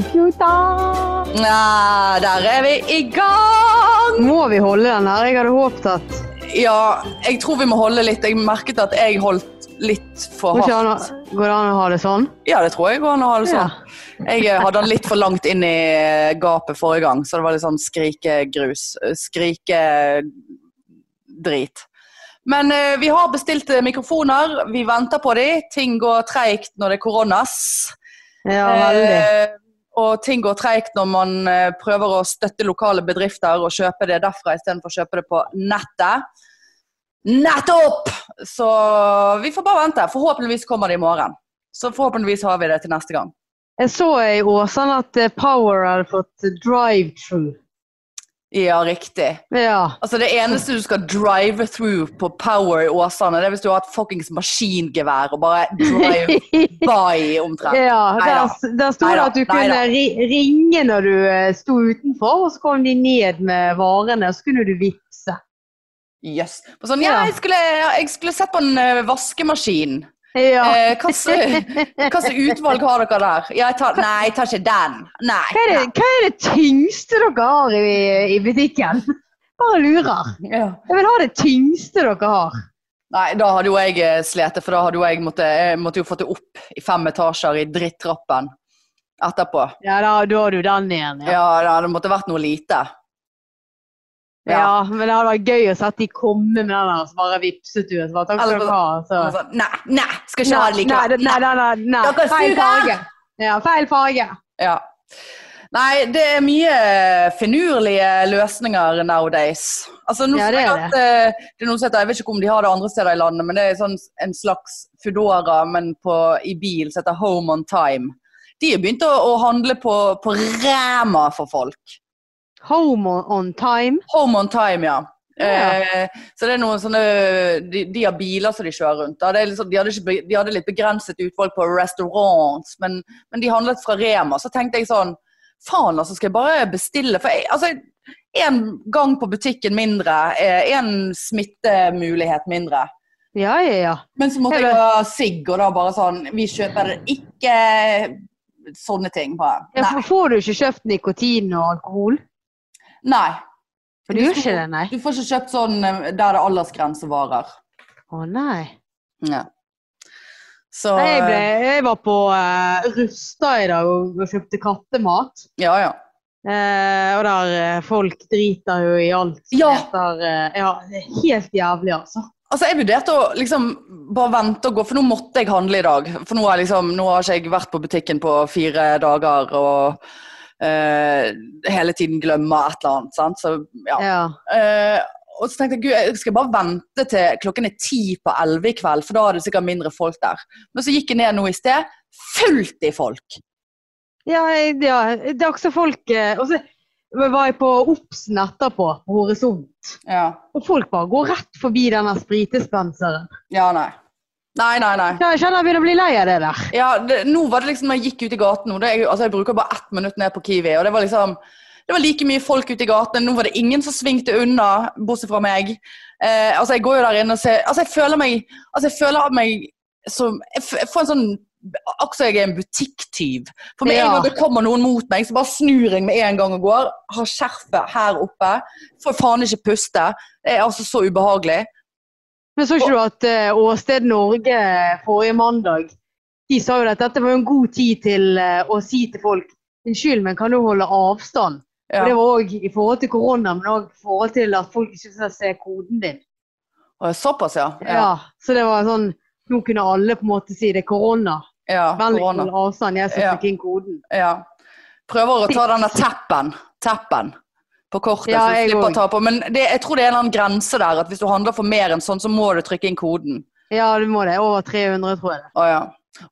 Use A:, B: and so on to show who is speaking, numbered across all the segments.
A: computer.
B: Nei, der er vi i gang!
A: Må vi holde den her? Jeg hadde håpet at
B: Ja, jeg tror vi må holde litt. Jeg merket at jeg holdt litt for
A: Går ikke an
B: hardt.
A: å- går det an å ha det sånn?
B: Ja, det tror jeg går an å ha det sånn. Jeg eh, hadde den litt for langt inn i eh, gapet forrige gang, så det var litt sånn skrikegrus. eh, Skrikedrit. Men eh, vi har bestilt eh, mikrofoner, vi venter på de. Ting går treigt når det er koronas.
A: Ja, veldig.
B: Eh, og ting går treigt når man eh, prøver å støtte lokale bedrifter og kjøpe det derfra istedenfor å kjøpe det på nettet. Nettopp! Så vi får bare vente. Forhåpentligvis kommer det i morgen. Så forhåpentligvis har vi det til neste gang.
A: Jeg så i Åsane at eh, Power hadde fått eh, drive-through.
B: Ja, riktig.
A: Ja.
B: Altså Det eneste du skal drive through på Power i Åsane, det er hvis du har et fuckings maskingevær og bare drive by omtrent.
A: ja
B: Neida.
A: der, der sto det
B: Neida,
A: at du kunne
B: neida.
A: ri ringe når du eh, sto utenfor, og så kom de ned med varene, og så kunne du vippse.
B: Yes. Og Sånn, ja,
A: Ja.
B: jeg skulle, jeg skulle sett på en eh, vaskemaskin.
A: Ja.
B: Eh, hva slags utvalg har dere der? Ja, jeg tar, nei, jeg tar ikke den. Nei.
A: Hva er, det, hva er det tyngste dere har i, i butikken? Bare lurer.
B: nei. Ja.
A: Jeg vil ha det tyngste dere har.
B: nei, da hadde jo jeg eh, slitt, for da hadde jo jeg måtte, jeg måtte jo fått det opp i fem etasjer i drittrappen etterpå.
A: Ja, da, da har du den igjen.
B: Ja, da, det måtte vært noe lite.
A: Ja, men det hadde vært gøy å se at de komme med den der, så bare vippset du. Så bare, takk skal
B: Eller
A: du ha. Så.
B: Og sånn, Nei, nei, skal ikke ha det
A: nei,
B: likevel.
A: nei, nei, nei, nei.
B: Dere
A: Feil
B: suger!
A: farge. Ja, feil farge.
B: Ja. Nei, det er mye finurlige løsninger nowadays. Altså, nå
A: Ja,
B: ser
A: det
B: jeg
A: er
B: at, eh, det er noen som heter, jeg vet ikke om de har det andre steder i landet, men det er sånn, en slags Foodora, men på, i bil, som heter Home on Time. De har begynt å, å handle på, på Rema for folk.
A: Home on- on time.
B: Home on Time, ja.
A: Ja.
B: Eh, så det er noen sånne De, de har biler som de kjører rundt. Da. Det er liksom, de, hadde ikke, be- de hadde litt begrenset utvalg på restaurants, men, men de handlet fra Rema. Så tenkte jeg sånn Faen, altså, skal jeg bare bestille? For jeg, altså, én gang på butikken mindre, én smittemulighet mindre.
A: Ja, ja, ja.
B: Men så måtte jeg
A: Hele-
B: ha sigg, og da bare sånn Vi kjøper ikke sånne ting på
A: ja
B: Nei.
A: for får du ikke kjøpt nikotin og alkohol?
B: Nei.
A: For du gjør ikke det, nei?
B: Du får ikke kjøpt sånn eh, der det er aldersgrensevarer.
A: Å nei.
B: Ja. Så eh,
A: Nei, Jeg, ble, jeg var på uh, Rusta i dag og, og kjøpte kattemat.
B: Ja, ja.
A: Eh, og der eh, folk driter jo i alt. som
B: Ja.
A: Heter, eh, ja, det er helt jævlig, altså.
B: Altså, Jeg vurderte å liksom bare vente og gå, for nå måtte jeg handle i dag. For nå, er liksom, nå har ikke jeg vært på butikken på fire dager og eh, hele tiden glemmer et eller annet. sant? Så, ja.
A: Ja.
B: Eh, og så tenkte jeg gud, jeg skal bare vente til klokken er ti på elleve i kveld, for da er det sikkert mindre folk der. Men så gikk jeg ned nå i sted. Fullt i folk!
A: Ja, jeg- ja, det er også folk eh, Og så var jeg på Obsen etterpå, på Horisont.
B: Ja.
A: Og folk bare går rett forbi denne spritdispenseren.
B: Ja, nei. Nei, nei, nei.
A: Ja, Jeg kjenner jeg begynner å bli lei av det der.
B: Ja, det, nå var det liksom når jeg gikk ut i gaten nå, det, er jo- altså Jeg bruker bare ett minutt ned på Kiwi, og det var liksom det var like mye folk ute i gatene. Nå var det ingen som svingte unna, bortsett fra meg. Eh, altså Jeg går jo der inne og ser Altså, jeg føler meg altså jeg føler meg som Jeg f- jeg får en sånn Akkurat som jeg er en butikktyv. For med en
A: Ja.
B: gang det kommer noen mot meg, så bare snur jeg med en gang og går. Har skjerfet her oppe. Får faen ikke puste. Det er altså så ubehagelig.
A: Men så ikke du at eh, Åsted Norge eh, forrige mandag de sa jo at dette var jo en god tid til eh, å si til folk Unnskyld, men kan du holde avstand?
B: Ja.
A: Og det var òg i forhold til korona, men òg i forhold til at folk ikke skal se koden din.
B: Og Såpass, ja.
A: Ja. Så det var sånn Nå kunne alle på en måte si det er korona.
B: ja
A: Vennlig
B: korona.
A: hold avstand, jeg som
B: Ja.
A: fikk inn koden.
B: Ja. Prøver å ta denne teppen, teppen på kortet,
A: Ja,
B: så du
A: jeg
B: slipper å
A: òg.
B: ta på. Men det, jeg tror det er en eller annen grense der, at hvis du handler for mer enn sånn, så må du trykke inn koden.
A: Ja, du må det. Over 300, tror jeg. det.
B: Å, ja.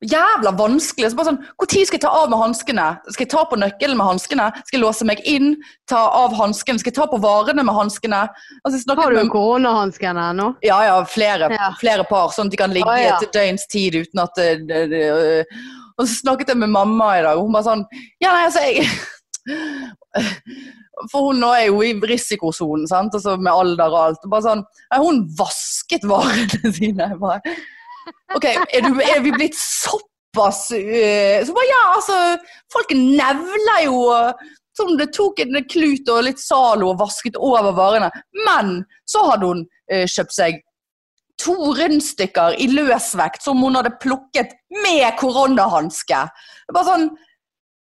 B: Jævla vanskelig! Så bare sånn, Når skal jeg ta av med hanskene? Skal jeg ta på nøkkelen med hanskene? Skal jeg låse meg inn? Ta av hanskene? Skal jeg ta på varene med hanskene? Altså, jeg snakket
A: Har du
B: med-
A: koronahansken ennå?
B: ja, ja, flere,
A: Ja.
B: flere par, sånn at de kan ligge
A: Å, ja.
B: et døgns tid uten at eh, det, det, eh, Og så snakket jeg med mamma i dag, og hun bare sånn Ja, nei, altså, jeg For hun nå er jo i risikosonen, sant, altså med alder og alt. og Bare sånn Nei, hun vasket varene sine. Jeg bare OK, er, du, er vi blitt såpass såpass eh, Så bare ja, altså Folk nevler jo og som det tok en klut og litt Zalo og vasket over varene. Men så hadde hun eh, kjøpt seg to rundstykker i løsvekt som hun hadde plukket med koronahanske. Det er Bare sånn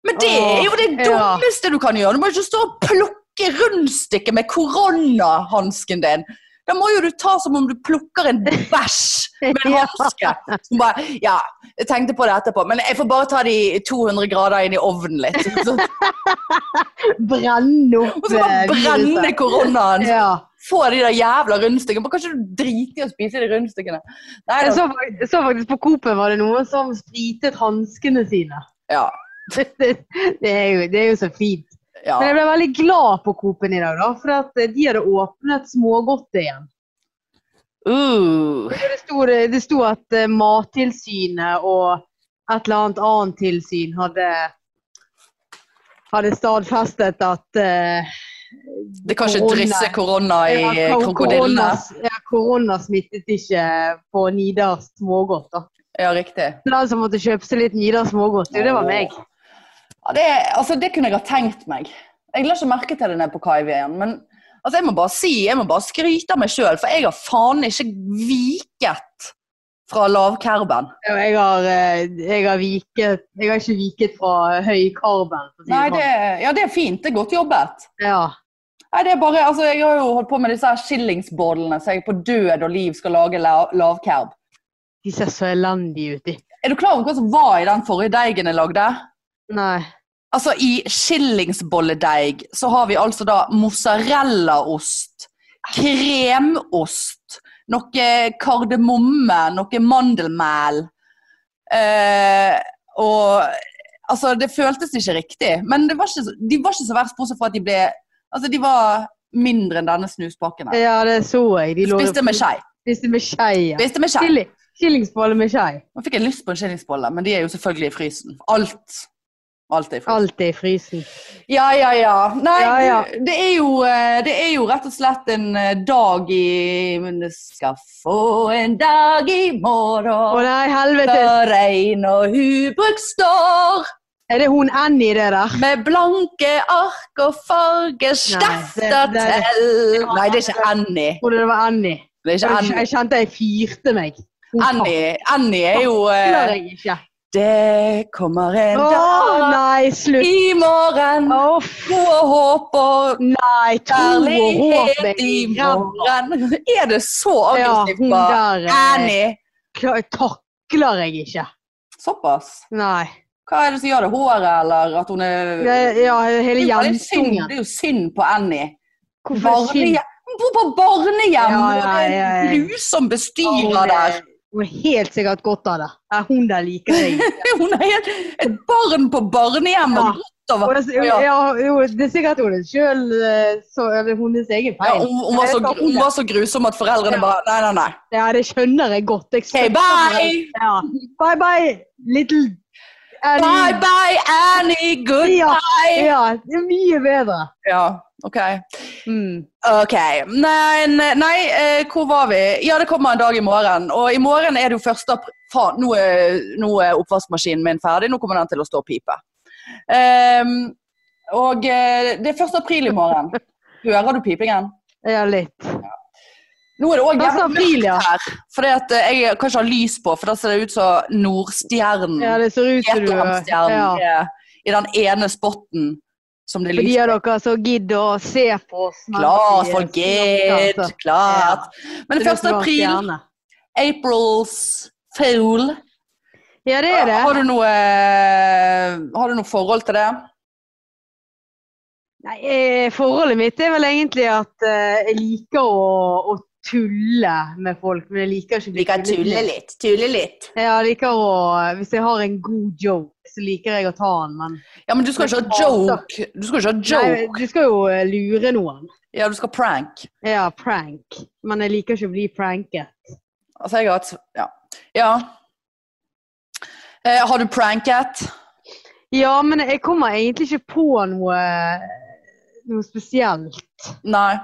B: Men det er jo det
A: Åh, ja.
B: dummeste du kan gjøre. Du må ikke stå og plukke rundstykker med koronahansken din. Da må jo du ta som om du plukker en bæsj med en
A: Ja.
B: hanske. Som bare, ja, jeg tenkte på det etterpå, men jeg får bare ta de 200 grader inn i ovnen litt. Så,
A: Brenne opp
B: og så bare
A: eh,
B: brenne
A: viruset.
B: koronaen.
A: Ja.
B: Få de der jævla rundstykkene. Bare Kan ikke du drite i å spise de rundstykkene? Nei,
A: Jeg
B: da,
A: så, fak- så faktisk på Coop-en var det noen som spritet hanskene sine.
B: ja,
A: Det, det, er jo, det er jo så fint.
B: ja.
A: Men jeg ble veldig glad på Coop-en i dag, da, for at eh, de hadde åpnet smågodtet igjen.
B: Uh,
A: Det sto, det sto at eh, Mattilsynet og et eller annet annet tilsyn hadde, hadde stadfestet at eh,
B: det kan ikke
A: Korona.
B: drysse korona i
A: ja,
B: eh,
A: kor-
B: krokodillene.
A: koronas- ja, korona smittet ikke eh, på Nidar smågodt. da.
B: Ja, riktig.
A: Så den som måtte kjøpe seg litt Nidar smågodt, jo, det var meg.
B: Ja, det, altså, det kunne jeg ha tenkt meg. Jeg la ikke merke til det nede på Kaivi igjen. Men altså, jeg må bare si, jeg må bare skryte av meg sjøl, for jeg har faen ikke viket fra lavkerben.
A: Ja, Jeg har, eh, jeg har, viket, jeg har ikke viket fra høykarben. for å si
B: Nei, det,
A: sånn.
B: ja, det er fint. Det er godt jobbet.
A: Ja.
B: Nei, det er bare, altså, Jeg har jo holdt på med disse her skillingsbodlene, så jeg på død og liv skal lage la- lavkerb.
A: De ser så elendige ut, de.
B: Er du klar over hva som var i den forrige deigen jeg lagde?
A: Nei.
B: Altså, I skillingsbolledeig så har vi altså da mozzarellaost, kremost, noe kardemomme, noe mandelmel. Eh, og altså, det føltes ikke riktig. Men det var ikke, så- de var ikke så verst, bortsett fra at de ble Altså, de var mindre enn denne snuspakken. her.
A: Ja, det så jeg. De lå-
B: Spiste med skei.
A: Spiste med skei, ja.
B: Spiste med skei.
A: Chili- Skillingsbolle med skei.
B: Nå fikk jeg lyst på en skillingsbolle, men de er jo selvfølgelig i frysen. Alt. Alt er i frysen.
A: Alt er i frysen.
B: Ja, ja, ja. Nei,
A: Ja, ja.
B: Det, er jo, eh, det er jo rett og slett en eh, dag i Men det skal få en dag i
A: Å
B: morgen
A: nei, helvete!
B: da regn og hubuk står
A: Er det hun Annie, det der?
B: med blanke ark og fargestifter
A: Nei, det- det er-
B: til Nei, det er ikke Annie.
A: Jeg trodde det var Annie.
B: Det er ikke
A: Jeg,
B: Annie.
A: jeg kjente jeg fyrte meg. Hun
B: Annie, Annie er jo
A: takler
B: eh,
A: jeg ikke.
B: Det kommer en
A: Å
B: dag
A: nei, slutt!
B: i morgen,
A: Å
B: tro og håp og
A: nei, tro og håp
B: Kjærlighet
A: meg
B: i
A: i ræva.
B: morgen. Er det så
A: Ja,
B: aggressivt
A: hun
B: på
A: der eh,
B: Annie?
A: kla- takler jeg ikke.
B: Såpass?
A: Nei.
B: Hva er det som gjør det? Håret, eller at hun er
A: Det, ja,
B: Det
A: hele
B: er jo bare litt synd,
A: jentungen.
B: det er jo synd på Annie.
A: Hvorfor
B: Barnehjem. Hun bor på barnehjem,
A: Ja,
B: og det
A: ja,
B: er
A: ja,
B: en
A: ja. skinner
B: grusom bestyrer der.
A: Hun er helt sikkert godt av det. Ja, hun der liker jeg. ikke.
B: Hun er helt, et barn på barnehjem og
A: Ja.
B: grått
A: Og
B: over
A: det,
B: Ja.
A: ja, jo, det er sikkert hun sjøl Eller hennes egen
B: ja,
A: feil.
B: hun, hun, var så, gru- hun var så grusom at foreldrene
A: Ja.
B: bare Nei, nei, nei.
A: Ja, det skjønner jeg godt. Jeg
B: OK,
A: skjønner det.
B: bye!
A: Ja. Bye bye, little Annie.
B: Bye, bye, Annie!
A: Ja,
B: Goodbye!
A: ja, det er mye bedre.
B: Ja, OK.
A: Mm.
B: Ok. Nei, nei, nei eh, hvor var vi? Ja, det kommer en dag i morgen. Og i morgen er det jo første april... Faen, nå er, nå er oppvaskmaskinen min ferdig. Nå kommer den til å stå og pipe. Ehm, og eh, det er 1. april i morgen. Hører du pipingen?
A: Ja, litt. Altså,
B: Nå er det òg
A: Første
B: jævla
A: april, ja.
B: mørkt her.
A: Altså-
B: Fordi at eh, jeg kan ikke ha lys på, for da ser det ut som Nordstjernen.
A: ja. Det ser ut som du eh,
B: Veteranstjernen
A: ja.
B: er i den ene spotten som det
A: For
B: lyser
A: de av dere som gidder å se på oss. mens
B: Klart,
A: vi
B: folk
A: snakker,
B: gidd!
A: altså.
B: Klart. Men
A: Det er
B: 1.
A: som å ha
B: april
A: stjerne.
B: April's Fool.
A: Ja, det er det.
B: Har du noe Har du noe forhold til det?
A: Nei, eh, forholdet mitt er vel egentlig at eh, jeg liker å, å tulle med folk, men jeg liker ikke å bli tullet med.
B: litt. Tulle litt.
A: Ja, jeg liker å, Hvis jeg har en god joke, så liker jeg å ta den, men
B: Ja, men du skal ikke ha joke. Du skal ikke ha
A: Nei,
B: joke.
A: Du skal jo eh, lure noen.
B: Ja, du skal prank.
A: Ja, prank. Men jeg liker ikke å bli pranket.
B: Altså, jeg har hatt Ja. ja. Eh, har du pranket?
A: Ja, men jeg kommer egentlig ikke på noe, noe spesielt.
B: Nei.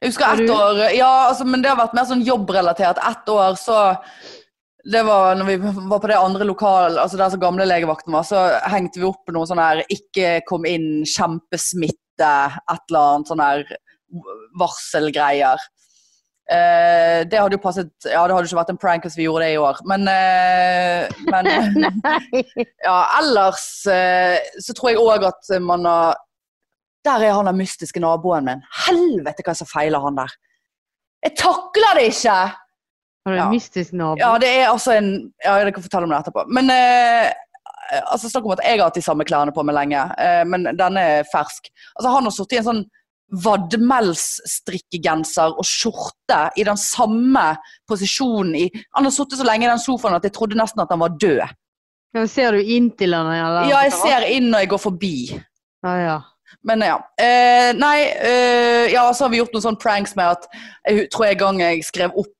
B: Jeg husker
A: Har
B: ett
A: du?
B: år Ja, altså, men det har vært mer sånn jobbrelatert. Ett år så det var når vi var på det andre lokal, altså der som gamle legevakten var, så hengte vi opp noe sånn her 'ikke kom inn, kjempesmitte', et eller annet sånn her varselgreier. Eh, det hadde jo passet Ja, det hadde jo ikke vært en prank hvis vi gjorde det i år, men, eh, men
A: Nei.
B: Ja, ellers eh, så tror jeg òg at man har Der er han den mystiske naboen min. Helvete, hva er det som feiler han der? Jeg takler det ikke!
A: Har du en
B: Ja.
A: mystisk nabo?
B: Ja, det er altså en Ja, jeg kan fortelle om det etterpå. Men eh, altså, snakk om at jeg har hatt de samme klærne på meg lenge, eh, men denne er fersk. Altså, han har sittet i en sånn vadmelsstrikkegenser og skjorte i den samme posisjonen i Han har sittet så lenge i den sofaen at jeg trodde nesten at han var død.
A: Ja, ser du inn til han? Eller?
B: Ja, jeg ser inn når jeg går forbi.
A: Ja, ja.
B: Men ja. Eh, nei, eh, ja, så har vi gjort noen sånne pranks med at jeg hu- tror jeg gang jeg skrev opp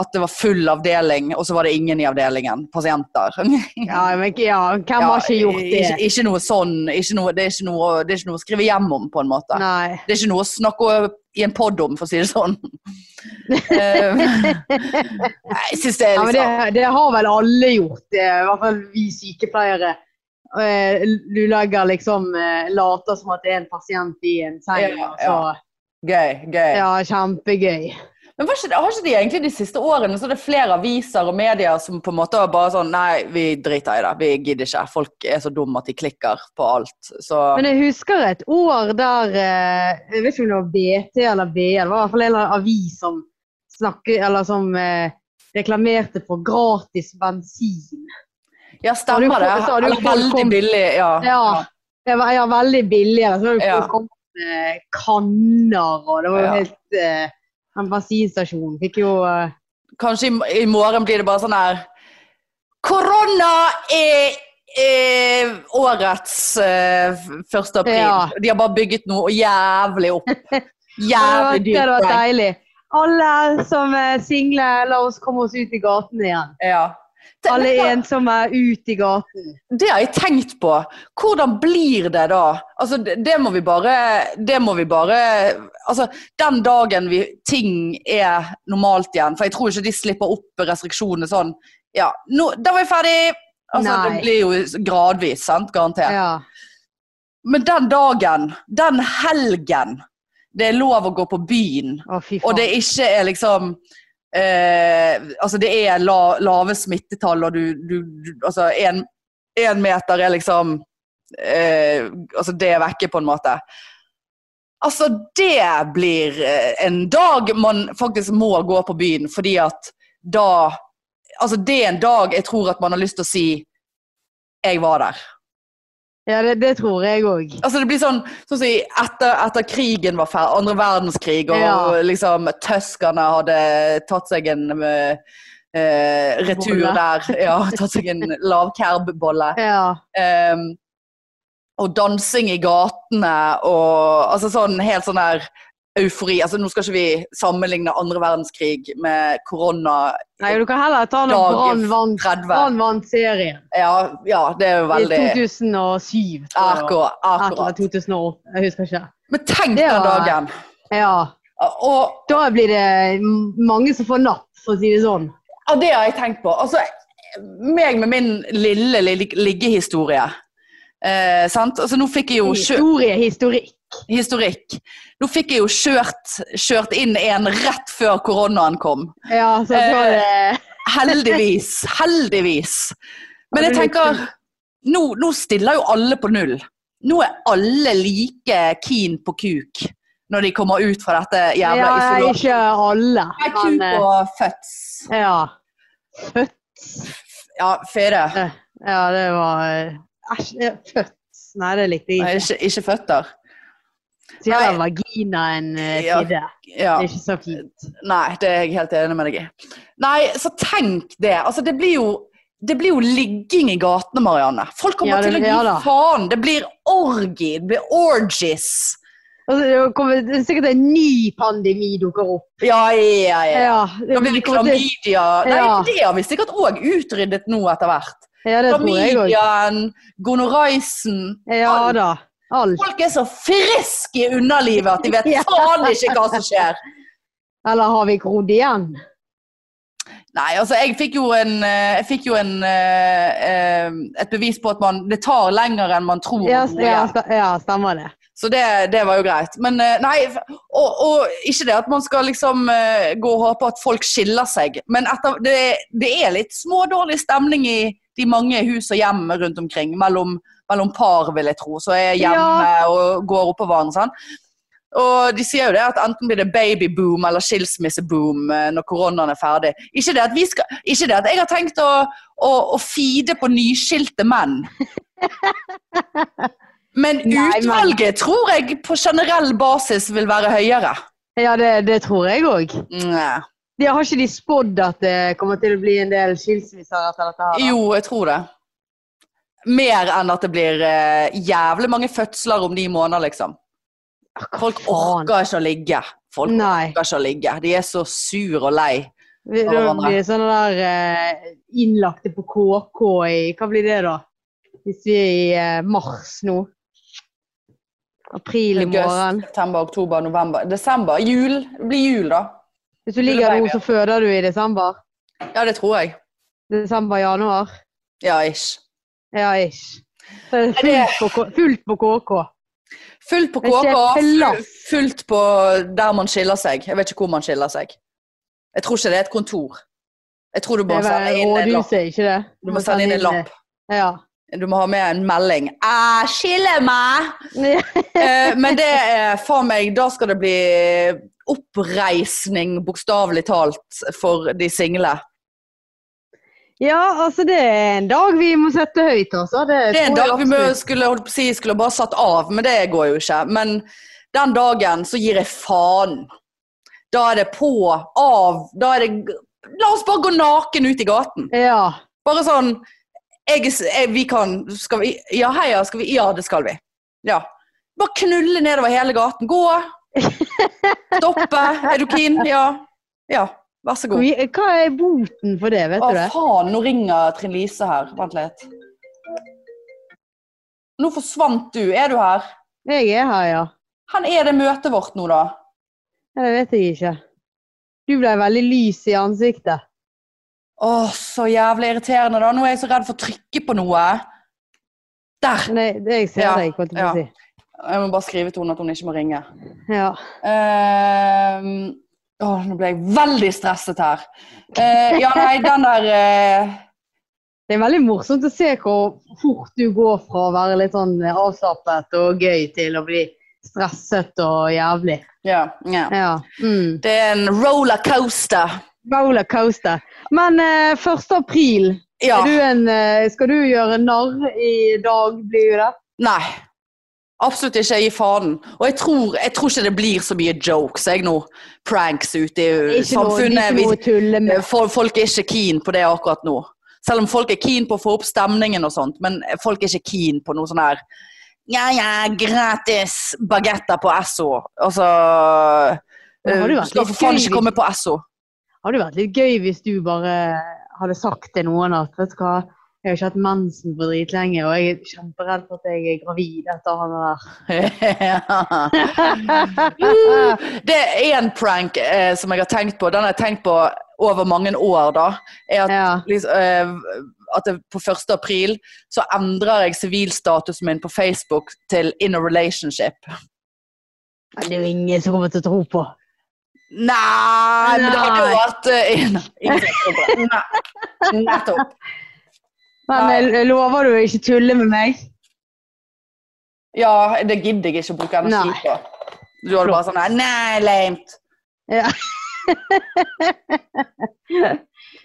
B: at det var full avdeling, og så var det ingen i avdelingen. Pasienter.
A: ja, men ja, hvem har ikke gjort det?
B: Ikke, ikke noe sånn. Ikke noe, det, er ikke noe, det er ikke noe å skrive hjem om, på en måte.
A: Nei.
B: Det er ikke noe å snakke i en pod om, for å si det sånn. Eh, nei, jeg syns det er
A: Ja, men
B: liksom
A: det, det har vel alle gjort, eh, i hvert fall vi sykepleiere. Eh, Du legger liksom eh, Later som at det er en pasient i en seng.
B: Ja,
A: og så-
B: sånn gøy. gøy.
A: ja, kjempegøy.
B: Men var ikke, det- har ikke de egentlig de siste årene så er det flere aviser og medier som på en måte var bare sånn Nei, vi driter i det. Vi gidder ikke. Folk er så dumme at de klikker på alt. Så
A: Men jeg husker et år der eh, Jeg vet ikke om det var BT eller BL, det var i hvert fall en eller annen avis som snakker, eller som eh, reklamerte for gratis bensin.
B: ja,
A: Har du
B: stemmer
A: fått-
B: det.
A: så har du
B: Eller
A: fått
B: veldig
A: kom-
B: billig. Ja.
A: Ja, det var ja, veldig altså, billigere. Så hadde
B: Ja.
A: folk kommet med kanner, og det var jo
B: Ja.
A: helt eh, En bensinstasjon fikk jo eh,
B: Kanskje i, i morgen blir det bare sånn her Korona er, er årets eh, første april.
A: Ja.
B: De har bare bygget noe jævlig opp.
A: Ja,
B: Jævlig
A: det hadde
B: dyrt.
A: vært deilig. Alle som er single, la oss komme oss ut i gaten igjen.
B: Ja.
A: Alle
B: Tenk-
A: ensomme, ut i gaten.
B: Det har jeg tenkt på. Hvordan blir det da? Altså, det, det må vi bare Det må vi bare Altså, den dagen vi, ting er normalt igjen For jeg tror ikke de slipper opp restriksjonene sånn Ja, nå, da var jeg ferdig! Altså,
A: Nei.
B: det blir jo gradvis, sant? Garantert.
A: Ja.
B: Men den dagen, den helgen, det er lov å gå på byen,
A: Å, fy
B: og
A: faen.
B: det ikke er liksom eh, Altså, det er la, lave smittetall, og du, du, du Altså, én meter er liksom eh, Altså, det er vekke, på en måte. Altså, det blir eh, en dag man faktisk må gå på byen, fordi at da Altså, det er en dag jeg tror at man har lyst til å si 'jeg var der'.
A: Ja, det, det tror jeg òg.
B: Altså det blir sånn, sånn som i etter, etter krigen var ferdig, andre verdenskrig, og
A: Ja.
B: liksom tyskerne hadde tatt seg en eh, eh, retur
A: Bolle.
B: der. Ja, tatt seg en lavkerbbolle.
A: Ja.
B: Em, og dansing i gatene og altså sånn helt sånn der eufori. Altså nå skal ikke vi sammenligne andre verdenskrig med korona
A: Nei, du kan heller ta noen
B: Dag
A: Brann vant-
B: 30.
A: Brann vant-serien.
B: Ja, ja, det er jo
A: I
B: veldig
A: 2007. tror jeg.
B: Akkurat.
A: Eller
B: akkurat.
A: 2008. Jeg husker ikke.
B: Men tenk
A: Det
B: den
A: var-
B: dagen!
A: Ja.
B: Og
A: Da blir det m- mange som får napp, for å si det sånn.
B: Ja, det har jeg tenkt på. Altså, meg med min lille, lille liggehistorie. Eh, sant? Altså, nå fikk jeg jo
A: Mm.
B: kjø
A: Historie, historikk.
B: historikk. Nå fikk jeg jo kjørt, kjørt inn en rett før koronaen kom.
A: Ja, så
B: Eh,
A: jeg tror det
B: Heldigvis. Heldigvis. Men jeg
A: Har du
B: tenker nå, nå stiller jo alle på null. Nå er alle like keen på kuk når de kommer ut fra dette
A: Ja,
B: jævla isoleringen.
A: ikke alle.
B: Ja,
A: Men,
B: kuk
A: eh,
B: og føds.
A: ja.
B: Ja, fede.
A: ja, det var eh, Æsj, eh, født. Nei, det likte jeg
B: Nei,
A: ikke.
B: Ikke, ikke føtter.
A: Så gjelder
B: nei.
A: vaginaen eh,
B: Ja.
A: til det.
B: Ja.
A: Det er ikke så fint.
B: Nei, det er jeg helt enig med deg i. Nei, så tenk det. Altså, det blir jo det blir jo ligging i gatene, Marianne. Folk kommer
A: Ja, det-
B: til å gi
A: ja da.
B: faen. Det blir orgi. Det blir orgies.
A: Altså, det kommer det er sikkert en ny pandemi dukker opp.
B: Ja, ja, ja.
A: Ja, det,
B: Da blir det
A: kommer til-
B: klamydia. Nei,
A: Ja.
B: det har vi sikkert òg utryddet nå etter hvert.
A: ja, det tror jeg òg.
B: Klamydiaen, gonoraisen.
A: Ja da. Alt.
B: Folk er så friske i underlivet at de vet
A: Ja.
B: faen ikke hva som skjer.
A: Eller har vi grodd igjen?
B: Nei, altså jeg fikk jo, en, eh, jeg fikk jo en, eh, eh, et bevis på at man, det tar lenger enn man tror. å
A: Ja,
B: bo
A: st- ja,
B: igjen.
A: st- ja stemmer det.
B: Så det, det var jo greit. Men eh, nei, f- og, og ikke det at man skal liksom eh, gå og håpe at folk skiller seg, men etter, det, det er litt smådårlig stemning i de mange hus og hjem rundt omkring, mellom, mellom par, vil jeg tro, som er hjemme og går oppå hverandre. Sånn. Og de sier jo det at enten blir det babyboom eller skilsmisseboom eh, når koronaen er ferdig. Ikke det at, vi skal, ikke det at jeg har tenkt å, å, å feede på nyskilte menn. Men
A: Nei, men-
B: utvalget tror jeg på generell basis vil være høyere.
A: Ja, det, det tror jeg òg.
B: Nei.
A: De har ikke de spådd at det kommer til å bli en del skilsmisser etter dette? her? da?
B: Jo, jeg tror det. Mer enn at det blir eh, jævlig mange fødsler om ni måneder, liksom. Folk
A: faen?
B: orker ikke å ligge. Folk
A: Nei.
B: orker ikke å ligge. De er så sur og lei.
A: Vi-
B: Og
A: Da
B: hverandre.
A: blir det sånne der eh, innlagte på KK i Hva blir det, da? Hvis vi er i eh, mars nå? April i morgen.
B: August, september, oktober, november, desember. Jul. Det blir jul, da.
A: Hvis du ligger nå, så føder du i desember?
B: Ja, det tror jeg.
A: Desember-januar?
B: Ja, ish.
A: Ja, ish. Så er det
B: Er det-
A: fullt på, K- fullt på KK.
B: Fullt på
A: Det er
B: KK,
A: ikke
B: full-
A: plass.
B: fullt på der man skiller seg. Jeg vet ikke hvor man skiller seg. Jeg tror ikke det er et kontor. Jeg tror du
A: Det
B: må
A: er
B: sende
A: vel
B: inn en lapp.
A: rådhuset, ikke det?
B: Du må sende inn en lapp.
A: Ja.
B: Du må ha med en melding. «Æ, skiller meg! Eh, men det er faen meg Da skal det bli oppreisning, bokstavelig talt, for de single.
A: ja, altså det er en dag vi må sette høyt, altså. Det,
B: Det er en
A: tror jeg
B: dag vi må,
A: absolutt.
B: skulle, holdt på å si, skulle bare satt av, men det går jo ikke. Men den dagen så gir jeg faen. Da er det på, av, da er det La oss bare gå naken ut i gaten.
A: Ja.
B: Bare sånn jeg, er s- jeg, Vi kan Skal vi Ja, heia, skal vi Ja, det skal vi. Ja. Bare knulle nedover hele gaten. Gå. Stoppe. Er du keen? Ja. Ja. Vær så
A: Hvor
B: god.
A: mye- Hva er boten for det, vet
B: Å,
A: du det?
B: faen, nå ringer Trine Lise her. Vent litt. Nå forsvant du. Er du her?
A: Jeg er her, ja.
B: Han er det møtet vårt nå, da.
A: Ja, Det vet jeg ikke. Du ble veldig lys i ansiktet.
B: Å, så jævlig irriterende, da. Nå er jeg så redd for å trykke på noe. Der!
A: Nei, det jeg ser
B: Ja,
A: deg, holdt jeg på å si.
B: Jeg må bare skrive til henne at hun ikke må ringe.
A: Ja.
B: Ehm, åh, nå ble jeg veldig stresset her. Eh, ja, nei, den der eh,
A: Det er veldig morsomt å se hvor fort du går fra å være litt sånn eh, avslappet og gøy til å bli stresset og jævlig.
B: Ja. ja.
A: Ja. Mm.
B: Det er en rollercoaster.
A: Roller coaster. Men eh, 1. april,
B: Ja.
A: er du en, eh, skal du gjøre narr i dag, blir jo det?
B: Nei. Absolutt ikke. Jeg gir faen. Og jeg tror, jeg tror ikke det blir så mye jokes jeg nå. Pranks ute i
A: Ikke noe, det
B: samfunnet.
A: Eh, er ikke noe å tulle
B: Vi,
A: med.
B: fol- folk er ikke keen på det akkurat nå. Selv om folk er keen på å få opp stemningen og sånt, men folk er ikke keen på noe sånn her Ja, ja, gratis bagetter på Esso. Altså
A: Men har det vært
B: Du skal
A: litt
B: for
A: gøy
B: faen ikke
A: hvis-
B: komme på Esso.
A: hadde jo vært litt gøy hvis du bare hadde sagt til noen at vet du hva, jeg har ikke hatt mensen på dritlenge, og jeg er kjemperedd for at jeg er gravid etter han der.
B: det er én prank eh, som jeg har tenkt på. Den har jeg tenkt på over mange år, da. Er at,
A: Ja.
B: liksom, eh, at det, på 1. april så endrer jeg sivilstatusen min på Facebook til 'in a relationship'.
A: Men Det er jo ingen som kommer til å tro på.
B: Nei, men det hadde jo
A: Nei.
B: vært eh, inn- innsiktsproblem. Nei. Nettopp.
A: Men
B: Nei.
A: jeg- jeg lover du å ikke tulle med meg?
B: Ja, det gidder jeg ikke å bruke energi
A: Nei.
B: på. Du hadde bare sånn her, Nei, lamet.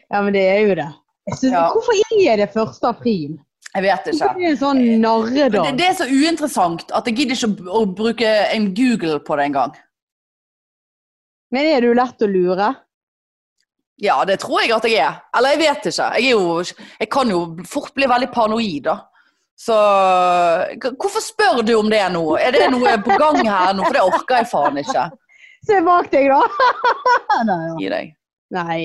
A: Ja, men det er jo det. Jeg synes,
B: Ja.
A: Hvorfor er det 1. april?
B: Jeg vet
A: Hvorfor
B: ikke.
A: er det en sånn
B: Men Det,
A: narredag?
B: det er så uinteressant at jeg gidder ikke å, b- å bruke en Google på det engang.
A: Men er du lett å lure?
B: Ja, det tror jeg at jeg er. Eller jeg vet ikke. Jeg, er jo, jeg kan jo fort bli veldig paranoid, da. Så k- hvorfor spør du om det nå? Er det noe på gang her nå? For det orker jeg faen ikke.
A: Se bak deg, da! nei, ja.
B: Gi deg.
A: nei,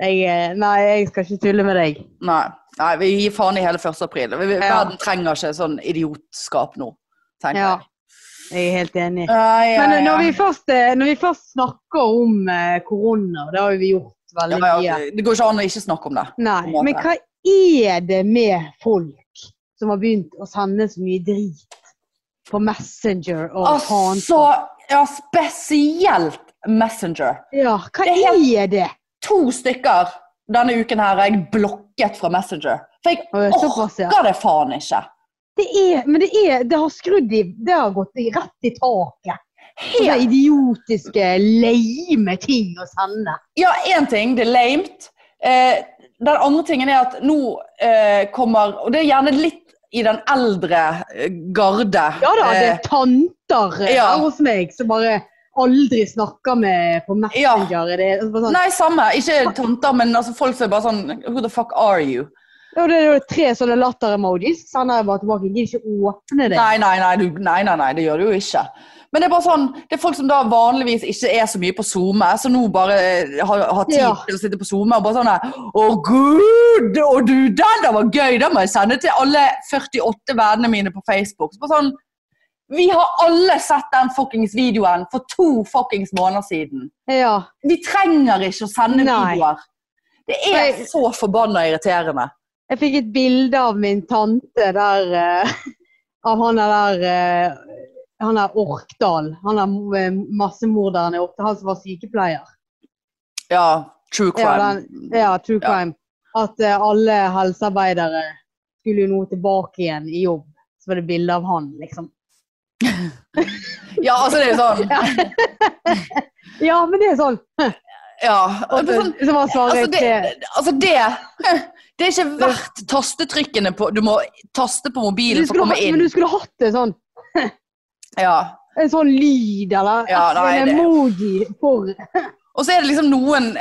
A: jeg, eh, nei, jeg skal ikke tulle med deg.
B: Nei. Nei, vi gir faen i hele 1. april. Vi, vi-
A: Ja.
B: Verden trenger ikke sånn idiotskap nå, tenker
A: Ja,
B: jeg.
A: jeg er helt enig.
B: Ja, ja,
A: Men eh,
B: ja.
A: når vi først, eh, når vi først snakker om eh, korona, det har jo vi gjort
B: Ja,
A: veldig
B: ja,
A: mye.
B: det går ikke an å ikke snakke om det.
A: Nei,
B: måte.
A: men hva er det med folk som har begynt å sende så mye drit på Messenger og faen?
B: Altså, ja, spesielt Messenger.
A: Ja, hva
B: det er helt-
A: er det?
B: to stykker denne uken her er jeg blokket fra Messenger. For jeg
A: Å, Såpass, ja.
B: orker det faen ikke.
A: Det er, men det er Det har skrudd i Det har gått i- rett i taket. Sånne
B: Helt,
A: idiotiske, lame ting å sende.
B: ja, én ting, det er lamet. Eh, den andre tingen er at nå eh, kommer Og det er gjerne litt i den eldre eh, garde.
A: Ja da, det er
B: Eh,
A: tanter eh,
B: ja.
A: her hos meg som bare aldri snakker med på Messenger. Det er bare sånn,
B: Eh, Nei, samme. Ikke tanter, men altså, folk som er bare sånn Who the fuck are you?
A: ja, det er jo tre sånne latter-emojis. Sender jeg bare tilbake. Jeg gidder ikke åpne det.
B: Nei nei nei, du, nei, nei, nei, det gjør du jo ikke. Men det er bare sånn, det er folk som da vanligvis ikke er så mye på SoMe, som nå bare eh, har, har tid
A: Ja.
B: til å sitte på SoMe og bare sånn der, Å, gud! Og du, den der var gøy! Den må jeg sende til alle 48 vennene mine på Facebook. Så bare sånn, Vi har alle sett den fuckings videoen for to fuckings måneder siden.
A: Ja.
B: Vi trenger ikke å sende
A: Nei.
B: videoer. Det er
A: Nei.
B: så forbanna irriterende.
A: Jeg fikk et bilde av min tante der eh, Av han der der eh, Han der Orkdal. Han der eh, massemorderen i Orkdal. Han som var sykepleier.
B: Ja, true
A: Ja,
B: crime.
A: Ja, true crime. At eh, alle helsearbeidere skulle jo nå tilbake igjen i jobb. Så var det bilde av han, liksom.
B: ja altså det er sånn.
A: Ja, men det er sånn.
B: Ja.
A: Og
B: det er sånn
A: så bare svarer
B: Altså
A: jeg
B: det,
A: til
B: altså det Det er ikke verdt tastetrykkene på Du må taste på
A: du
B: mobilen for å
A: skulle,
B: komme
A: ha-
B: inn.
A: Men du skulle hatt en sånn,
B: Ja.
A: en sånn lyd, eller
B: Ja, nei,
A: en
B: det-
A: emoji for
B: Og så er det liksom noen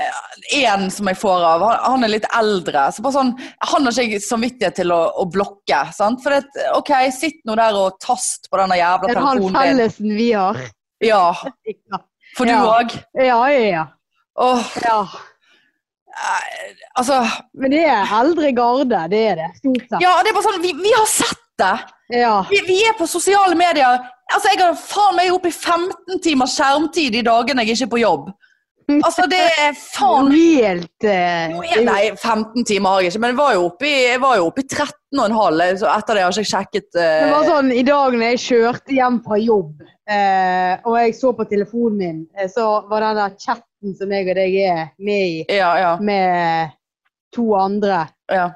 B: En som jeg får av, han, han er litt eldre. Så bare sånn, Han har ikke jeg samvittighet til å, å blokke. sant? For det, OK, sitt nå der og tast på denne jævla
A: den han
B: telefonen din.
A: fellesen vi har.
B: Ja,
A: Ja,
B: For du
A: Ja.
B: òg.
A: ja, ja.
B: Åh,
A: ja.
B: eh, altså
A: Men det er eldre garde, det er det. Stort sett.
B: Ja, det er bare sånn Vi, vi har sett det!
A: Ja.
B: Vi, vi er på sosiale medier. Altså, Jeg har faen meg oppe i 15 timer skjermtid de dagene jeg ikke er på jobb. Altså, det er faen
A: Helt eh,
B: Nei, 15 timer har jeg ikke, men jeg var jo oppe i, jeg var jo oppe i 13 og en halv. Så etter det har jeg ikke sjekket eh,
A: Det var sånn i dag når jeg kjørte hjem fra jobb, eh, og jeg så på telefonen min, eh, så var den der chatten som jeg og deg er med i,
B: Ja, ja,
A: med to andre,
B: ja.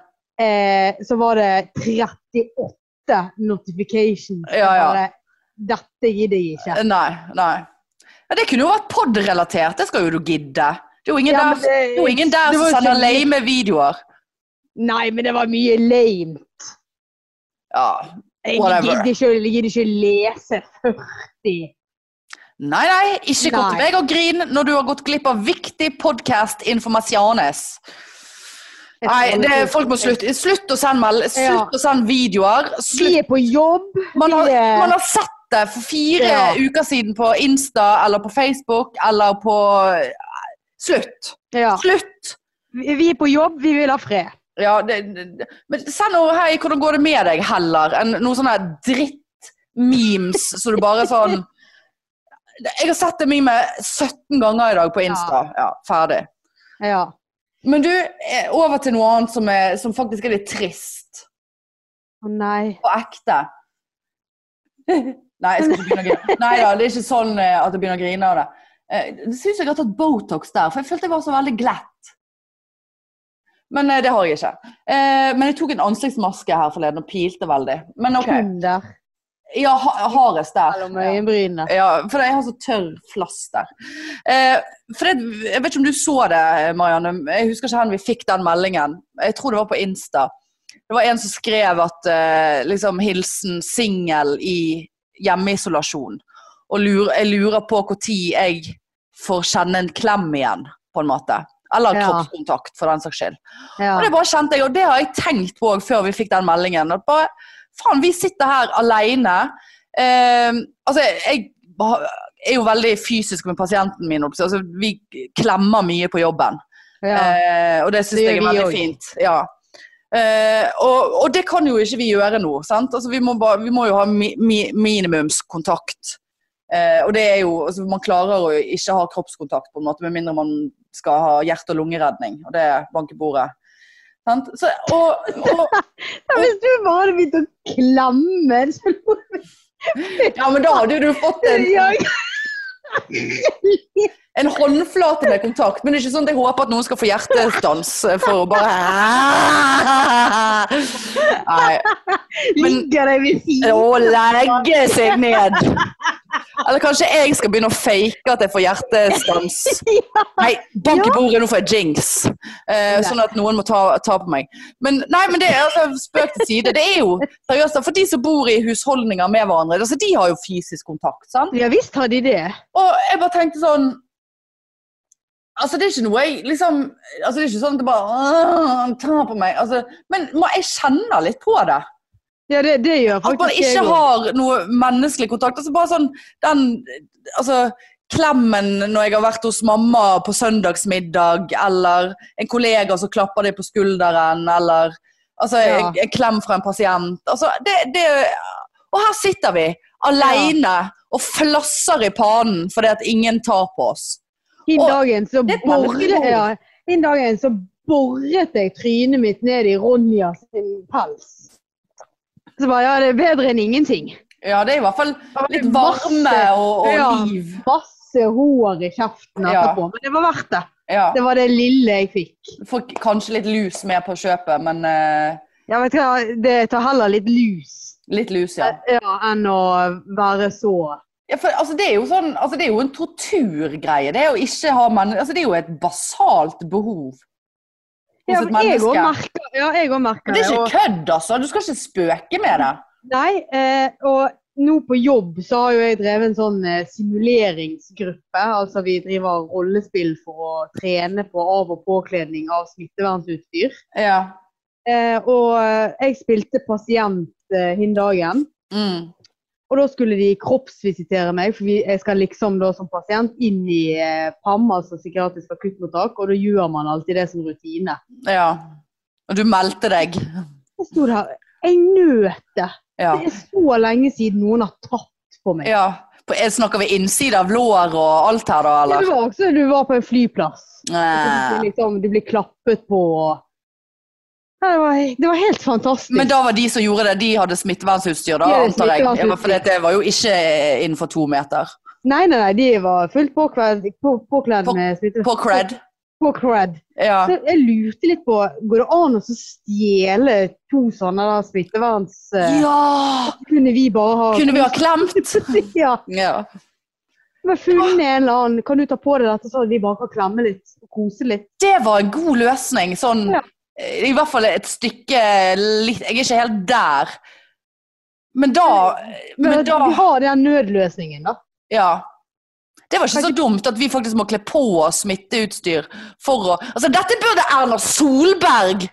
A: eh, så var det 38 notifications.
B: Ja, ja.
A: Bare, Dette gidder jeg ikke.
B: Nei. nei. Ja, det kunne jo vært pod-relatert. Det skal jo du gidde. Det er jo ingen
A: Ja, men
B: der, det, er jo ingen der
A: det var jo
B: som sender
A: så-
B: lame videoer.
A: Nei, men det var mye lame.
B: Ja.
A: Jeg
B: Whatever.
A: gidder ikke, jeg gidder ikke lese 40
B: Nei, nei, ikke kom til
A: Nei.
B: meg og grin når du har gått glipp av viktig podcast informasjones. Nei, det, folk må slutte. Slutt å sende meld,
A: Ja.
B: slutt å sende videoer.
A: Vi
B: Slutt.
A: er på jobb.
B: Man, har,
A: vi er-
B: man har sett det for fire
A: Ja.
B: uker siden på Insta eller på Facebook eller på eh, Slutt!
A: Ja.
B: Slutt!
A: Vi vi er på jobb, vi vil ha fred.
B: Ja, det, det- men send noe hei, hvordan går det med deg, heller, enn noen sånne dritt-memes så du bare sånn Jeg har sett det memet 17 ganger i dag på Insta. Ja, ferdig.
A: Ja.
B: Men du, eh, over til noe annet som, er, som faktisk er litt trist.
A: Å nei.
B: på ekte. Nei, jeg skal ikke begynne å grine. Nei da, det er ikke sånn eh, at jeg begynner å grine av det. Eh, Det syns jeg har tatt Botox der, for jeg følte jeg var så veldig glatt. Men eh, det har jeg ikke. Eh, Men jeg tok en ansiktsmaske her forleden og pilte veldig. Men OK.
A: Kun der.
B: Ja, ha- hardest der.
A: Mellom øyenbrynene.
B: Ja, for jeg har så tørr flass der. Eh, for det, jeg vet ikke om du så det, Marianne. Jeg husker ikke hvor vi fikk den meldingen. Jeg tror det var på Insta. Det var en som skrev at eh, liksom hilsen singel i hjemmeisolasjon. Og lurer, jeg lurer på når jeg får kjenne en klem igjen, på en måte. Eller
A: Ja.
B: kroppskontakt, for den saks skyld.
A: Ja.
B: Og det bare kjente jeg, og det har jeg tenkt på også før vi fikk den meldingen. At bare, faen, vi sitter her alene. Eh, altså, jeg ba- er jo veldig fysisk med pasienten min. oppså- Altså, vi klemmer mye på jobben.
A: Ja.
B: Eh, og det syns
A: Det
B: jeg
A: gjør
B: er
A: vi
B: veldig
A: også.
B: fint. Ja. Eh, og, og det kan jo ikke vi gjøre nå. Sant? Altså, vi, må bare, vi må jo ha mi, mi, minimumskontakt. Eh, og det er jo, altså, Man klarer å ikke ha kroppskontakt på en måte, med mindre man skal ha hjerte- og lungeredning. Og det banker bordet. Sant? Så, og, og,
A: Ja, hvis du bare hadde begynt å klemme så hadde
B: ja, men da hadde jo du fått en,
A: jeg-
B: en håndflate med kontakt. Men det er ikke sånn at jeg håper at noen skal få hjertestans for å bare Nei. Men-
A: Ligger deg ved siden
B: Å legge seg ned. Eller kanskje jeg skal begynne å fake at jeg får hjertestans. Nei, bank i bordet, nå får jeg jinx. Eh, sånn at noen må ta, ta på meg. Men, nei, men det er altså, spøk til side. Det er jo seriøst, da, for de som bor i husholdninger med hverandre, altså, de har jo fysisk kontakt. sant?
A: Ja visst har de det.
B: Og jeg bare tenkte sånn Altså, det er ikke noe jeg liksom altså Det er ikke sånn at det bare «Åh, Ta på meg. altså, Men må- jeg kjenner litt på det.
A: Ja, det, det gjør
B: At man
A: faktisk jeg
B: ikke
A: også.
B: har noe menneskelig kontakt. Altså bare sånn den altså, klemmen når jeg har vært hos mamma på søndagsmiddag, eller en kollega som klapper deg på skulderen, eller altså,
A: Ja.
B: en, en klem fra en pasient. Altså, det, det, og her sitter vi aleine og flasser i panen fordi at ingen tar på oss.
A: Hin
B: Og-
A: dagen så
B: Det er et menneskebehov.
A: borret ja, hin dagen så borret jeg trynet mitt ned i Ronja sin pels. Så bare ja, det er bedre enn ingenting.
B: Ja, det er i hvert fall litt varme
A: Masse-
B: og, og
A: ja,
B: liv.
A: Masse hår i kjeften
B: Ja.
A: etterpå, men det var verdt det.
B: Ja.
A: Det var det lille jeg fikk.
B: Får kanskje litt lus med på kjøpet, men eh,
A: Ja, vet du hva, det tar heller litt lus eh,
B: litt lus, ja.
A: ja, enn å være så
B: Ja, for, altså, det, er jo sånn, altså, det er jo en torturgreie. Det er, jo ikke ha men, altså, det er jo et basalt behov hos
A: ja,
B: et
A: men jeg
B: menneske.
A: òg merker, ja, jeg også merker
B: Men det er
A: og-
B: ikke kødd, altså! Du skal ikke spøke med det.
A: Nei, eh, og nå på jobb så har jo jeg drevet en sånn eh, simuleringsgruppe. Altså vi driver rollespill for å trene på av- og påkledning av smittevernutstyr.
B: Ja.
A: Eh, og eh, jeg spilte pasient eh, hin dagen.
B: Mm.
A: Og da skulle de kroppsvisitere meg, for vi, jeg skal liksom da som pasient inn i eh, PAM, altså psykiatrisk akuttmottak, og da gjør man alltid det som rutine.
B: ja. Og du meldte deg.
A: Jeg sto der, jeg nøt det.
B: Ja.
A: Det er så lenge siden noen har tatt på meg.
B: ja. På, er- snakker vi innside av lår og alt her, da,
A: Ja,
B: eller?
A: det var også du var på en flyplass. Du,
B: Eh.
A: liksom, du blir klappet på. og- Ja, det, var, det var helt fantastisk.
B: Men da var de som gjorde det, de hadde smittevernutstyr, da,
A: De hadde
B: antar jeg. Ja,
A: smittevernutstyr.
B: for det var jo ikke eh, innenfor to meter.
A: Nei, nei, nei, de var fullt påkledd, på, påkledd
B: På-
A: med smitte.
B: På cred.
A: På cred.
B: Ja.
A: Så jeg lurte litt på Går det an å så stjele to sånne da, smitteverns... eh,
B: ja!
A: Kunne vi bare ha
B: Kunne vi ha klemt?
A: ja,
B: Ja.
A: men funnet en eller annen Kan du ta på deg dette, så de bare kan klemme litt og kose litt?
B: det var en god løsning. Sånn,
A: Ja.
B: I hvert fall et stykke litt Jeg er ikke helt der. Men da, men
A: Men
B: da
A: Vi har den nødløsningen, da.
B: Ja. Det var ikke så dumt at vi faktisk må kle på oss smitteutstyr for å Altså, dette burde Erna Solberg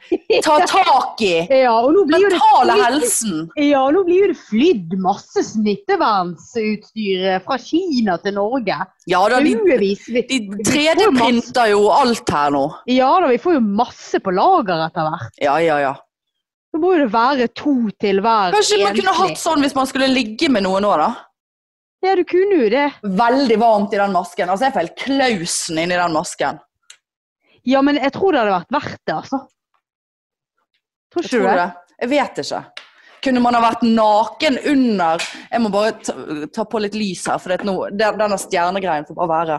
B: ta tak i!
A: Ja, og nå blir jo det
B: Mentale
A: flydd-
B: helsen!
A: Ja, nå blir jo det flydd masse smittevernsutstyr eh, fra Kina til Norge.
B: Ja da, de,
A: Haugevis. Vi-
B: de 3D-printer jo alt her nå.
A: Ja da, vi får jo masse på lager etter hvert.
B: Ja, ja, ja.
A: Så må jo det være to til hver.
B: Kanskje man kunne
A: enslig.
B: hatt sånn hvis man skulle ligge med noe nå, da?
A: Ja, du kunne jo det.
B: Veldig varmt i den masken. Altså, jeg får helt klausen inni den masken.
A: Ja, men jeg tror det hadde vært verdt det, altså. Tror
B: Jeg
A: ikke du
B: tror
A: det?
B: det. Jeg vet ikke. Kunne man ha vært naken under Jeg må bare ta, ta på litt lys her, for det er nå, den- denne stjernegreien får bare være.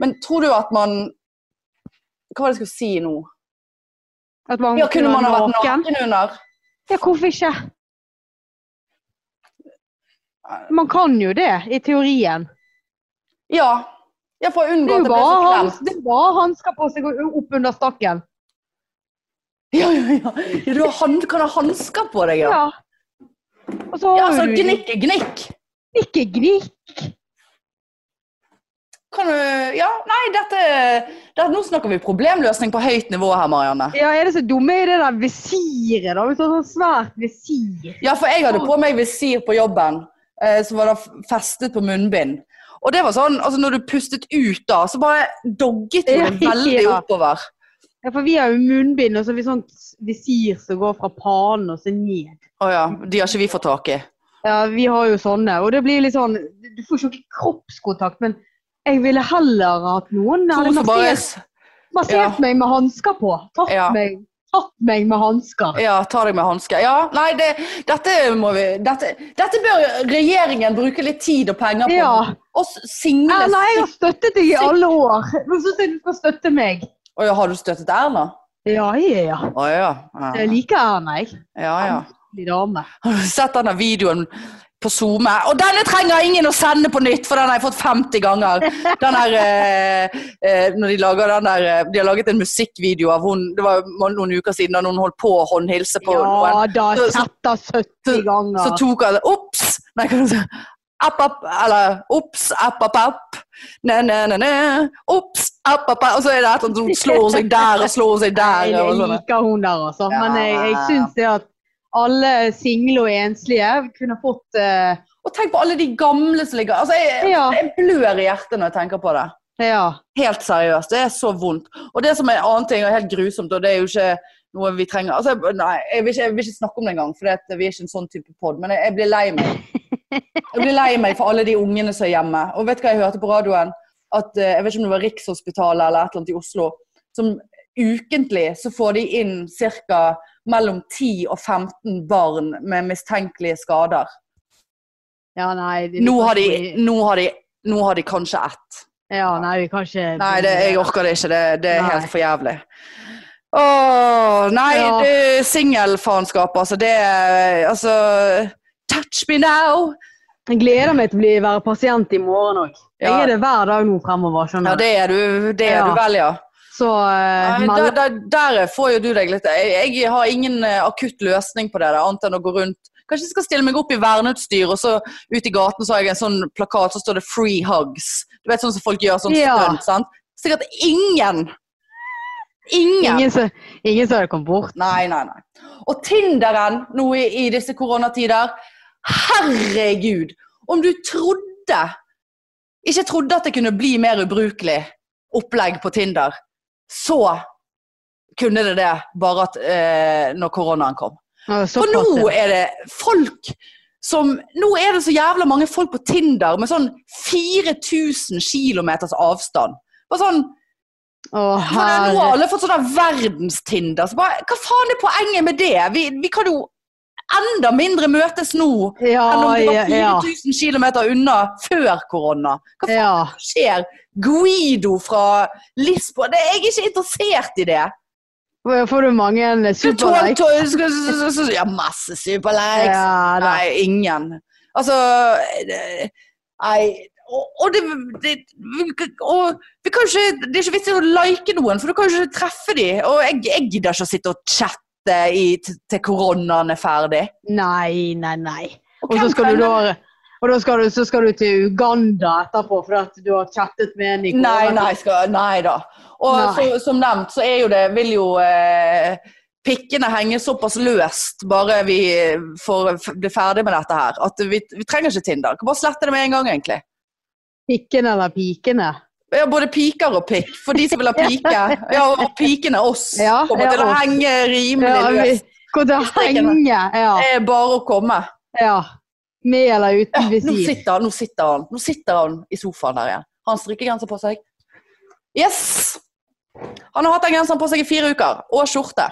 B: Men tror du at man Hva var det jeg skulle si nå?
A: At man
B: Ja, kunne man ha vært naken under?
A: Ja, hvorfor ikke? Man kan jo det, i teorien.
B: Ja. Ja, for å
A: Det
B: unngå
A: er
B: at
A: jo
B: det blir
A: bare
B: så
A: hans-
B: klemt.
A: det er bare hansker på seg og opp under stakken.
B: Ja, ja, ja. ja du, har han, du kan ha hansker på deg, ja.
A: Ja. Og så har
B: ja altså,
A: du
B: gnikk er gnikk.
A: ikke gnikk.
B: Kan du Ja, nei, dette, dette Nå snakker vi problemløsning på høyt nivå her, Marianne.
A: Ja, er det så dumme i det der visiret, da? Hvis du har sånn svært visir.
B: Ja, for jeg hadde på meg visir på jobben, eh, som var da f- festet på munnbind. Og det var sånn, altså når du pustet ut da, så bare dogget jo det veldig
A: Ja.
B: oppover.
A: Ja, for vi har jo munnbind, og så har vi sånt visir som går fra panen og så ned.
B: Å ja, de har ikke vi fått tak i.
A: Ja, vi har jo sånne. Og det blir litt sånn Du får jo ikke kroppskontakt, men jeg ville heller hatt noen jeg hadde
B: Tror så bare
A: massert, massert meg med hansker på. Tatt,
B: Ja.
A: meg, tatt meg med hansker.
B: Ja, ta deg med hanske. Ja, nei, det, dette må vi dette, dette bør regjeringen bruke litt tid og penger på.
A: Ja.
B: Og s- single
A: Erna, jeg har støttet deg i alle år. Nå syns jeg du skal støtte meg.
B: Å ja, har du støttet Erna?
A: Ja, ja, ja.
B: Å ja.
A: Jeg liker Erna, jeg.
B: ja, ja.
A: Ordentlig dame.
B: Har du sett denne videoen på SoMe? Og denne trenger ingen å sende på nytt, for den har jeg fått 50 ganger. Den her, eh, eh, når de, lager den der, eh, de har laget en musikkvideo av hun, det var jo noen uker siden da noen holdt på å håndhilse på noen.
A: Ja da,
B: Så- så-
A: setter 70
B: Så
A: ganger.
B: tok han Ops! Nei, hva er det du sier? App, app, eller Ops, app, app, app. Ne, ne, ne, ne. Ops, app, app, app. Og så er det et eller annet sånn slår hun seg der og slår hun seg der.
A: Jeg
B: Og sånn.
A: liker hun der, altså. Men jeg, jeg
B: Ja.
A: syns det at alle single og enslige kunne fått eh,
B: Og tenk på alle de gamle som ligger Altså, jeg,
A: Ja.
B: jeg blør i hjertet når jeg tenker på det.
A: Ja.
B: Helt seriøst. Det er så vondt. Og det som er en annen ting, og helt grusomt, og det er jo ikke noe vi trenger altså, jeg- Nei, jeg vil, ikke, jeg vil ikke snakke om det engang, for det, vi er ikke en sånn type pod. Men jeg, jeg blir lei meg. Jeg blir lei meg for alle de ungene som er hjemme. Og vet du hva jeg hørte på radioen? At, eh, jeg vet ikke om det var Rikshospitalet eller et eller annet i Oslo, som ukentlig så får de inn ca. mellom 10 og 15 barn med mistenkelige skader.
A: ja, nei det-
B: Nå har de, nå har de, nå har de kanskje ett.
A: Ja, nei, vi kan ikke
B: Nei, det, jeg orker det ikke. Det, det er
A: Nei.
B: helt for jævlig. Åh, nei,
A: Ja.
B: det- singelfaenskap, altså. Det er Altså Touch me now!
A: Jeg gleder meg til å bli, være pasient i morgen òg. Jeg
B: Ja.
A: er det hver dag nå fremover.
B: Ja,
A: skjønner du.
B: det er du, det er
A: Ja.
B: du vel, ja.
A: Så eh,
B: Nei,
A: meld-
B: der, der, der får jo du deg litt Jeg, jeg har ingen eh, akutt løsning på det, der, annet enn å gå rundt Kanskje jeg skal stille meg opp i verneutstyr, og så ute i gaten så har jeg en sånn plakat, så står det 'free hugs'. Du vet sånn som folk gjør sånn
A: Ja.
B: stunt, sant? Sikkert ingen! Ingen!
A: ingen, som- ingen som hadde kommet bort.
B: Nei, nei, nei. Og Tinderen nå i, i disse koronatider Herregud! Om du trodde Ikke trodde at det kunne bli mer ubrukelig opplegg på Tinder, så kunne det det bare at eh, når koronaen kom.
A: Ja,
B: For
A: såpass,
B: nå
A: ja.
B: er det folk som Nå er det så jævla mange folk på Tinder med sånn 4000 kilometers avstand. Bare sånn
A: Å,
B: for det, nå
A: herre.
B: har alle fått sånn der verdenstinder. Så bare, hva faen er poenget med det? Vi, vi kan jo enda mindre møtes nå enn om
A: Ja,
B: du var
A: ja, ja.
B: 4000 km unna før korona. Hva faen
A: ja.
B: skjer? Guido fra Lisboa det, Jeg er ikke interessert i det.
A: Får du mange eh,
B: Du tål-
A: superlikes?
B: tål- sk- sk- sk- sk- Ja, masse superlikes.
A: Ja, da.
B: Nei, ingen. Altså det- Nei. Og, og det, det vi- og vi kan ikke, Det er ikke vits i å like noen, for du kan jo ikke treffe dem. Og jeg, jeg gidder ikke å sitte og chatte i, til, til koronaen er ferdig.
A: Nei, nei, nei. Og
B: hvem
A: så skal du da
B: trenger-
A: og da skal du, så skal du til Uganda etterpå fordi at du har chattet med en i
B: Nei,
A: korona.
B: nei, skal, nei da.
A: Nei.
B: Og Så, som nevnt, så er jo det Vil jo eh, pikkene henge såpass løst bare vi får f- bli ferdig med dette her. At vi, vi trenger ikke Tinder. Kan bare slette det med en gang, egentlig.
A: Pikkene eller pikene.
B: Ja, både piker og pikk. For de som vil ha pike. Ja, og piken er oss.
A: Ja,
B: kommer
A: ja,
B: til å
A: oss.
B: henge rimelig
A: Ja, vi
B: løst.
A: går til å
B: Pikkene.
A: henge. Ja,
B: Det er bare å komme.
A: ja. Med eller
B: Ja,
A: uten
B: nå,
A: visir.
B: sitter, nå sitter han Nå sitter han i sofaen der igjen. Har han strikkegenser på seg? Yes! Han har hatt den genseren på seg i fire uker. Og skjorte.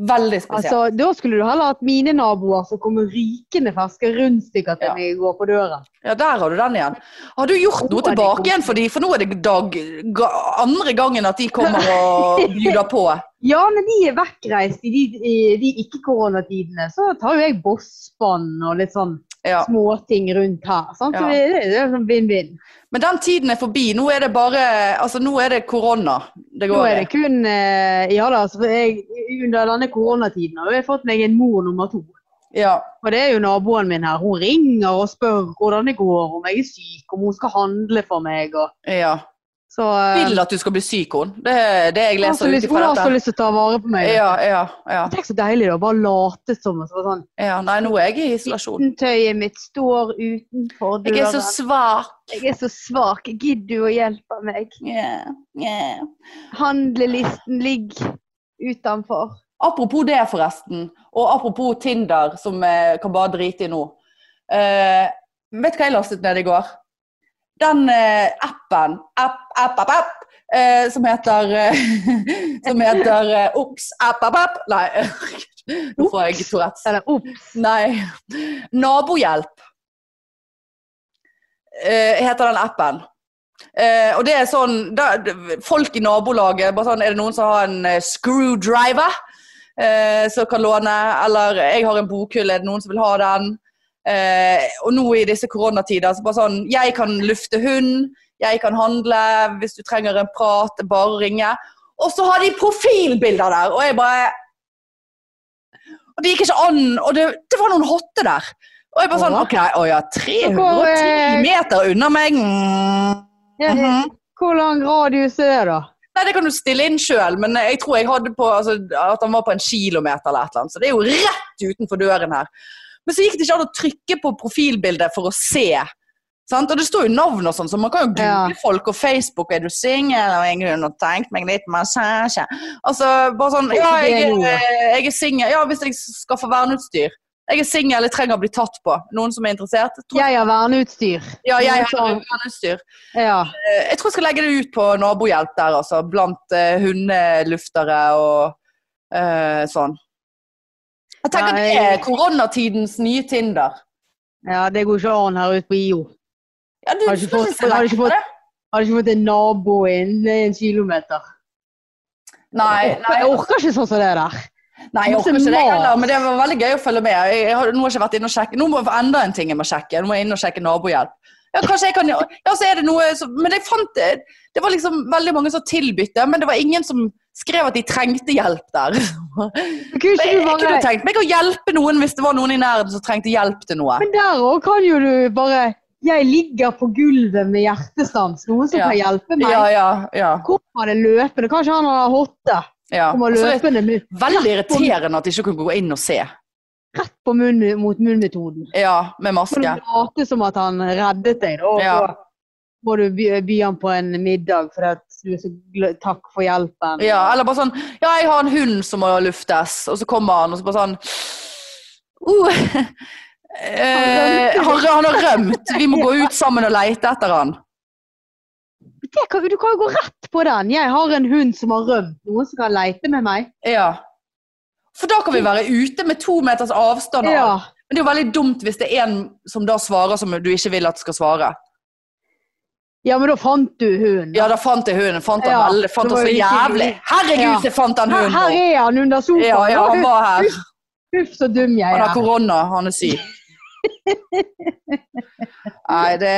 B: Veldig spesielt.
A: Altså, da skulle du heller hatt mine naboer som kommer rykende ferske rundstykker til
B: Ja.
A: meg i går på døren.
B: Ja, der har du den igjen. Har du gjort
A: Nå
B: noe
A: er de
B: tilbake igjen
A: kommet.
B: for de, For nå er det dag, ga, andre gangen at de kommer og bjuder på.
A: Ja, men de er vekkreist i de, i de ikke-koronatidene. Så tar jo jeg bosspann og litt sånn
B: Ja.
A: småting rundt her. Sant?
B: Ja.
A: Så det, det, det er sånn vinn-vinn.
B: Men den tiden er forbi. Nå er det bare Altså, nå er det korona det
A: Nå
B: går
A: er
B: i.
A: det kun eh, Ja da, altså, for jeg, under denne koronatiden har jeg fått meg en mor nummer to.
B: Ja.
A: Og det er jo naboen min her. Hun ringer og spør hvordan det går, om jeg er syk, om hun skal handle for meg. Og,
B: ja.
A: så eh,
B: Vil at du skal bli syk, hun. Det er det jeg
A: hun har så
B: leser ut
A: lyst- hun
B: ifra
A: har så
B: dette.
A: lyst til å ta vare på meg.
B: Ja, ja, ja,
A: Tenk så deilig det å bare late som. Og så bare sånn,
B: ja. Nei, nå er jeg i isolasjon.
A: Tøyet mitt står utenfor
B: Jeg er så svak.
A: jeg er så svak. Gidder du å hjelpe meg?
B: Yeah, yeah.
A: Handlelisten ligger utenfor.
B: Apropos det, forresten, og apropos Tinder, som jeg kan eh, bare drite i nå. Eh, vet du hva jeg lastet ned i går? Den eh, appen app, app, app, app, eh, som heter eh, Som heter eh, Ops, app, app, app. Nei, nå får jeg Tourettes.
A: Eller ops.
B: Nei. Nabohjelp eh, heter den appen. Eh, og det er sånn da, d- Folk i nabolaget bare sånn, Er det noen som har en eh, screwdriver eh, som kan låne? Eller jeg har en bokhylle, er det noen som vil ha den? Eh, og nå i disse koronatider så bare sånn Jeg kan lufte hund, jeg kan handle, hvis du trenger en prat, bare ringe. Og så har de profilbilder der! Og jeg bare og det gikk ikke an. Og det, det var noen hotter der. Og jeg bare sånn
A: Åh. eh,
B: OK, å ja,
A: Hvor,
B: 310
A: eh,
B: meter unna meg. Mm.
A: Ja,
B: Mhm.
A: Hvor lang radius er det, da?
B: Nei, det kan du stille inn sjøl, men jeg tror jeg hadde på altså, at han var på en kilometer eller et eller annet. Så det er jo rett utenfor døren her. Men så gikk det ikke an å trykke på profilbildet for å se. Sant? Og det står jo navn og sånn, så man kan jo google folk og Facebook. Er du singel? Og jeg kunne tenkt meg litt massasje. Altså, bare sånn Ja, jeg, er- jeg er singel. Ja, hvis jeg skaffer verneutstyr. Jeg er singel eller trenger å bli tatt på. Noen som er interessert? Tror-
A: Jeg har verneutstyr. Sånn,
B: Ja, jeg har verneutstyr.
A: Ja.
B: Eh, Jeg tror jeg skal legge det ut på nabohjelp der, altså. Blant eh, hundeluftere og eh, sånn. Jeg tenker
A: Nei.
B: det er koronatidens nye Tinder.
A: ja, det går ikke an her ute på IO.
B: Ja, du
A: Har du ikke
B: skal
A: fått-
B: ikke
A: har
B: se
A: du
B: vekk
A: ikke
B: fra
A: fått-
B: det?
A: Hadde ikke fått en nabo innen en kilometer.
B: Nei,
A: Jeg orker-
B: nei,
A: Jeg orker ikke sånn som det der.
B: nei, jeg orker
A: masse
B: ikke det
A: mat.
B: heller, men det var veldig gøy å følge med. Jeg, jeg har, nå har jeg ikke vært inne og sjekke. Nå må jeg enda en ting jeg må sjekke. Nå må jeg inn og sjekke nabohjelp. Ja, kanskje jeg kan Ja, så er det noe som Men jeg fant det Det var liksom veldig mange som tilbød det, men det var ingen som skrev at de trengte hjelp der.
A: Men Kunne
B: Jeg,
A: ikke du
B: jeg
A: bare
B: kunne tenkt meg å hjelpe noen hvis det var noen i nærheten som trengte hjelp til noe.
A: Men der òg kan jo du bare Jeg ligger på gulvet med hjertestans. Noen som
B: Ja.
A: kan hjelpe meg.
B: Ja, ja, ja.
A: Kommer det løpende? Kanskje han har hotte?
B: ja.
A: Kommer
B: Altså, det
A: løpende med-
B: er veldig irriterende at de ikke kunne gå inn og se.
A: rett på munn mot munn-metoden.
B: Ja, med
A: Kan du
B: maske.
A: late som at han reddet deg, da? Og
B: Ja.
A: så må du by, by han på en middag fordi at du er så gl- takk for hjelpen.
B: Ja, eller bare sånn Ja, jeg har en hund som må luftes, og så kommer han, og så bare sånn uh, eh, han, han har rømt. Vi må gå ut sammen og leite etter han.
A: Det kan, du kan jo gå rett på den. Jeg har en hund som har rømt. Noen som kan leite med meg.
B: Ja. For da kan vi være ute med to meters avstand. og
A: Ja.
B: alt. Men det er jo veldig dumt hvis det er en som da svarer som du ikke vil at skal svare.
A: ja, men da fant du hunden.
B: Ja, da fant jeg hunden. Fant han
A: Ja,
B: veldig, fant
A: det
B: han
A: var
B: så
A: jo ikke
B: jævlig.
A: mulig.
B: Herregud,
A: Ja.
B: så fant han
A: her,
B: hunden!
A: her er han under sofaen.
B: Ja, ja, han var her.
A: Huff, så dum jeg
B: Han har
A: er.
B: korona, han er syk. Nei, det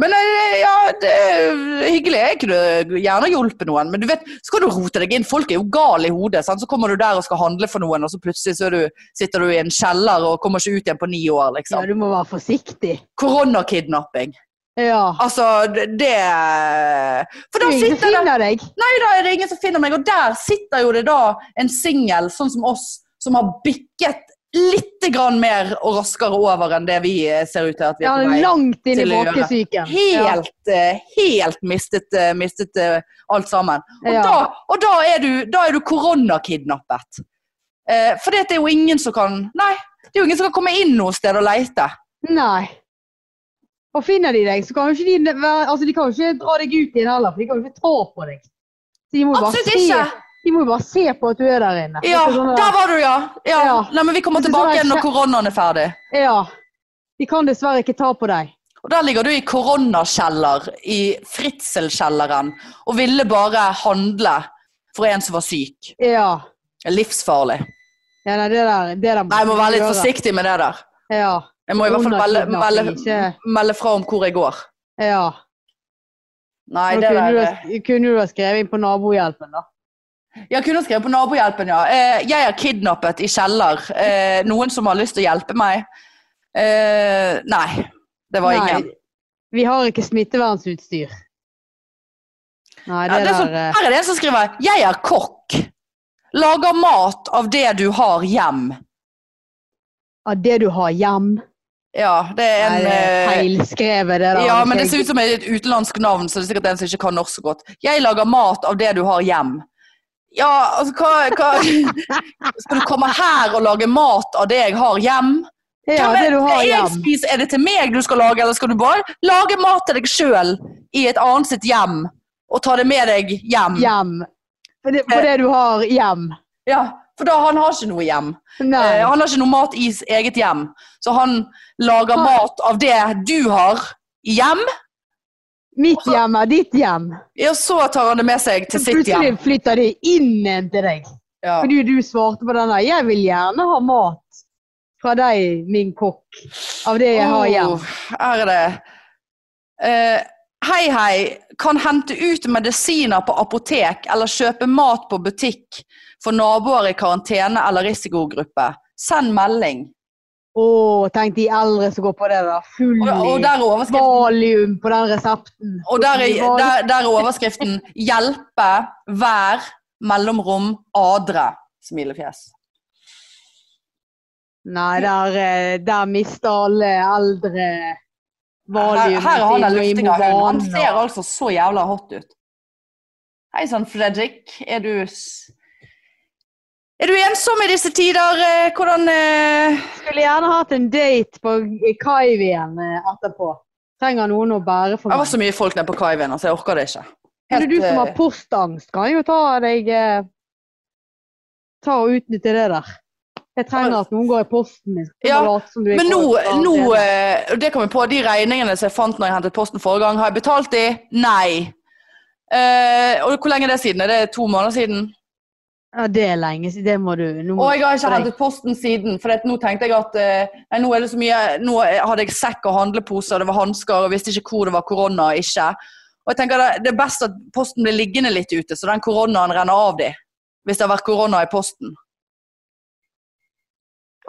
B: Men eh, ja, det er hyggelig. Jeg kunne gjerne hjulpet noen. Men du vet, så kan du rote deg inn. Folk er jo gale i hodet. Sant? Så kommer du der og skal handle for noen, og så plutselig så er du, sitter du i en kjeller og kommer ikke ut igjen på ni år,
A: Ja,
B: liksom.
A: du må være forsiktig.
B: Koronakidnapping.
A: Ja.
B: Altså, det det- For da
A: Ingen
B: sitter det
A: finner deg.
B: Nei, da er det ingen som finner meg. Og der sitter jo det da en singel, sånn som oss, som har bikket litt grann mer og raskere over enn det vi eh, ser ut til at vi
A: Ja,
B: er på vei.
A: langt inn i
B: til å gjøre.
A: måkesyken. Ja.
B: Helt, eh, helt mistet, eh, mistet eh, alt sammen. Og,
A: Ja.
B: da, og da er du, da er du koronakidnappet. Eh, for det er jo ingen som kan Nei, det er jo ingen som kan komme inn noe sted og leite.
A: Nei. Og finner de deg, så kan jo ikke de være- altså, De kan jo ikke dra deg ut igjen heller, for de kan jo ikke ta på deg. Så de må jo bare,
B: Absolutt
A: se,
B: ikke!
A: de må jo bare se på at du er der inne.
B: Ja,
A: Det er sånn
B: der var du, ja. ja.
A: Ja.
B: Nei, men vi kommer
A: Det er sånn
B: tilbake
A: at
B: igjen når
A: kje-
B: koronaen er ferdig.
A: der- ja. De kan dessverre ikke ta på deg.
B: Og der ligger du i koronakjeller, i fritselkjelleren, og ville bare handle for en som var syk.
A: Ja.
B: Livsfarlig.
A: ja nei, det der, det der
B: Nei, jeg må være litt
A: gjøre.
B: forsiktig med det der.
A: Ja.
B: Jeg må i hvert fall melde, melde,
A: altså, Ikke-
B: melde fra om hvor jeg går.
A: ja.
B: Nei,
A: Nå
B: det
A: kunne,
B: der eh,
A: du, ha- kunne du ha skrevet inn på nabohjelpen, da?
B: Jeg kunne skrevet på nabohjelpen, ja. Eh, jeg er kidnappet i kjeller. Eh, noen som har lyst til å hjelpe meg? Eh, nei. Det var ingen.
A: Nei, vi har ikke smittevernutstyr. Nei,
B: Ja,
A: det,
B: det er
A: der
B: sånn,
A: eh,
B: her er det en som skriver 'Jeg er kokk'. Lager mat av det du har hjem.
A: ja, Det du har hjem
B: Ja, det er en
A: Nei, det er
B: eh,
A: feilskrevet, det der.
B: Ja, men det ser ut som et utenlandsk navn, så det er sikkert en som ikke kan norsk så godt. Jeg lager mat av det du har hjem. Ja, altså hva, hva Skal du komme her og lage mat av det jeg har hjem?
A: Det er
B: Hvem
A: det
B: er,
A: du har
B: skal jeg
A: hjem.
B: spise? Er det til meg du skal lage, eller skal du bare lage mat til deg sjøl i et annet sitt hjem? Og ta det med deg hjem?
A: Hjem. For det, for det du har hjem.
B: Ja, For da han har ikke noe hjem.
A: Nei.
B: Eh, han har ikke noe mat i s- eget hjem. Så han lager
A: Nei.
B: mat av det du har i hjem,
A: Mitt hjem er ditt hjem.
B: og så tar han det med seg til
A: Så
B: sitt hjem.
A: Plutselig flytter de inn igjen til deg.
B: Ja.
A: Fordi du svarte på den der 'jeg vil gjerne ha mat fra deg, min kokk', av det jeg har hjem.
B: Åh, her er det. Eh, hei, hei. Kan hente ut medisiner på apotek eller kjøpe mat på butikk for naboer i karantene eller risikogruppe. Send melding.
A: Å, tenk de eldre som går på det der. Full
B: Og, og der er overskriften.
A: valium på den resepten.
B: Og der er, der, der er overskriften 'Hjelpe hver mellomrom adre'. Smilefjes.
A: Nei, der, eh, der mister alle eldre
B: Her,
A: valium.
B: her er han
A: sin
B: den
A: og
B: luftinga.
A: Imovan,
B: Han
A: og-
B: ser altså så jævla hot ut. Hei sann, Fredrik. Er du s- Er du ensom i disse tider? Eh, Hvordan eh,
A: Skulle gjerne hatt en date på Kaivien eh, etterpå. Trenger noen å bære for
B: Det var
A: meg.
B: så mye folk nede på kaiven, altså. Jeg orker det ikke.
A: Men det er du som har
B: eh,
A: postangst, kan jo ta deg eh, Ta og utnytte det der. Jeg trenger at noen går i posten min. Du må
B: Ja,
A: late som du er
B: Men nå,
A: korrespondent.
B: nå eh, det kom jeg på, de regningene som jeg fant når jeg hentet posten forrige gang, har jeg betalt de? Nei. Eh, og hvor lenge er det siden? Er det to måneder siden?
A: ja, Det er lenge siden. Det må du nå må
B: Og jeg har ikke
A: Nei.
B: hentet posten siden, for at nå tenkte jeg at eh, nei, nå er det så mye Nå hadde jeg sekk og handlepose, og det var hansker, og visste ikke hvor det var korona og ikke. Og jeg tenker det, det er best at posten blir liggende litt ute, så den koronaen renner av de. Hvis det har vært korona i posten.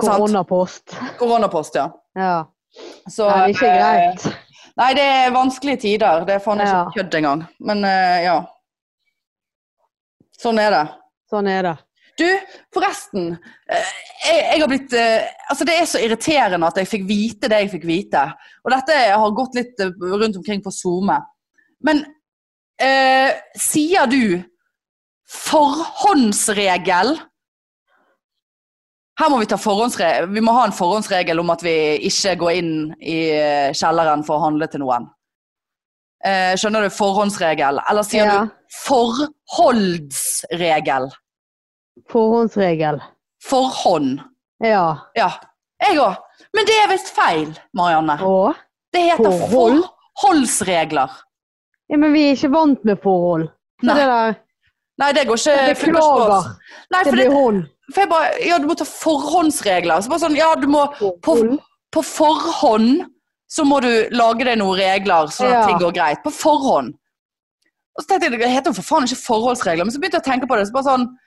B: sant.
A: Koronapost.
B: Koronapost, ja.
A: Ja.
B: Så
A: Nei, det er ikke
B: eh,
A: greit.
B: Nei, det er vanskelige tider. Det er faen ikke
A: Ja.
B: kødd engang. Men eh, ja. Sånn er det.
A: Sånn er det.
B: Du, forresten. eh, Jeg, jeg har blitt eh, Altså, det er så irriterende at jeg fikk vite det jeg fikk vite. Og dette har gått litt eh, rundt omkring på SoMe. Men eh, sier du forhåndsregel? Her må vi ta forhåndsregel. Vi må ha en forhåndsregel om at vi ikke går inn i eh, kjelleren for å handle til noen. Eh, skjønner du? Forhåndsregel. Eller sier
A: Ja.
B: du forholdsregel?
A: Forhåndsregel.
B: Forhånd.
A: Ja.
B: Ja. Jeg òg. Men det er visst feil, Marianne.
A: Og?
B: Det heter
A: Forhold?
B: forholdsregler.
A: Ja, men vi er ikke vant med forhold. Så
B: Nei.
A: det der
B: Nei, det går ikke.
A: Jeg
B: funker ikke på oss.
A: Beklager.
B: Nei,
A: Det
B: for,
A: blir
B: det,
A: hånd.
B: for jeg bare Ja, du må ta forhåndsregler. Så bare sånn, ja, du må på, på forhånd så må du lage deg noen regler, sånn at
A: Ja.
B: ting går greit. På forhånd. Og så tenkte jeg, det heter jo for faen ikke forholdsregler, men så begynte jeg å tenke på det. så bare sånn,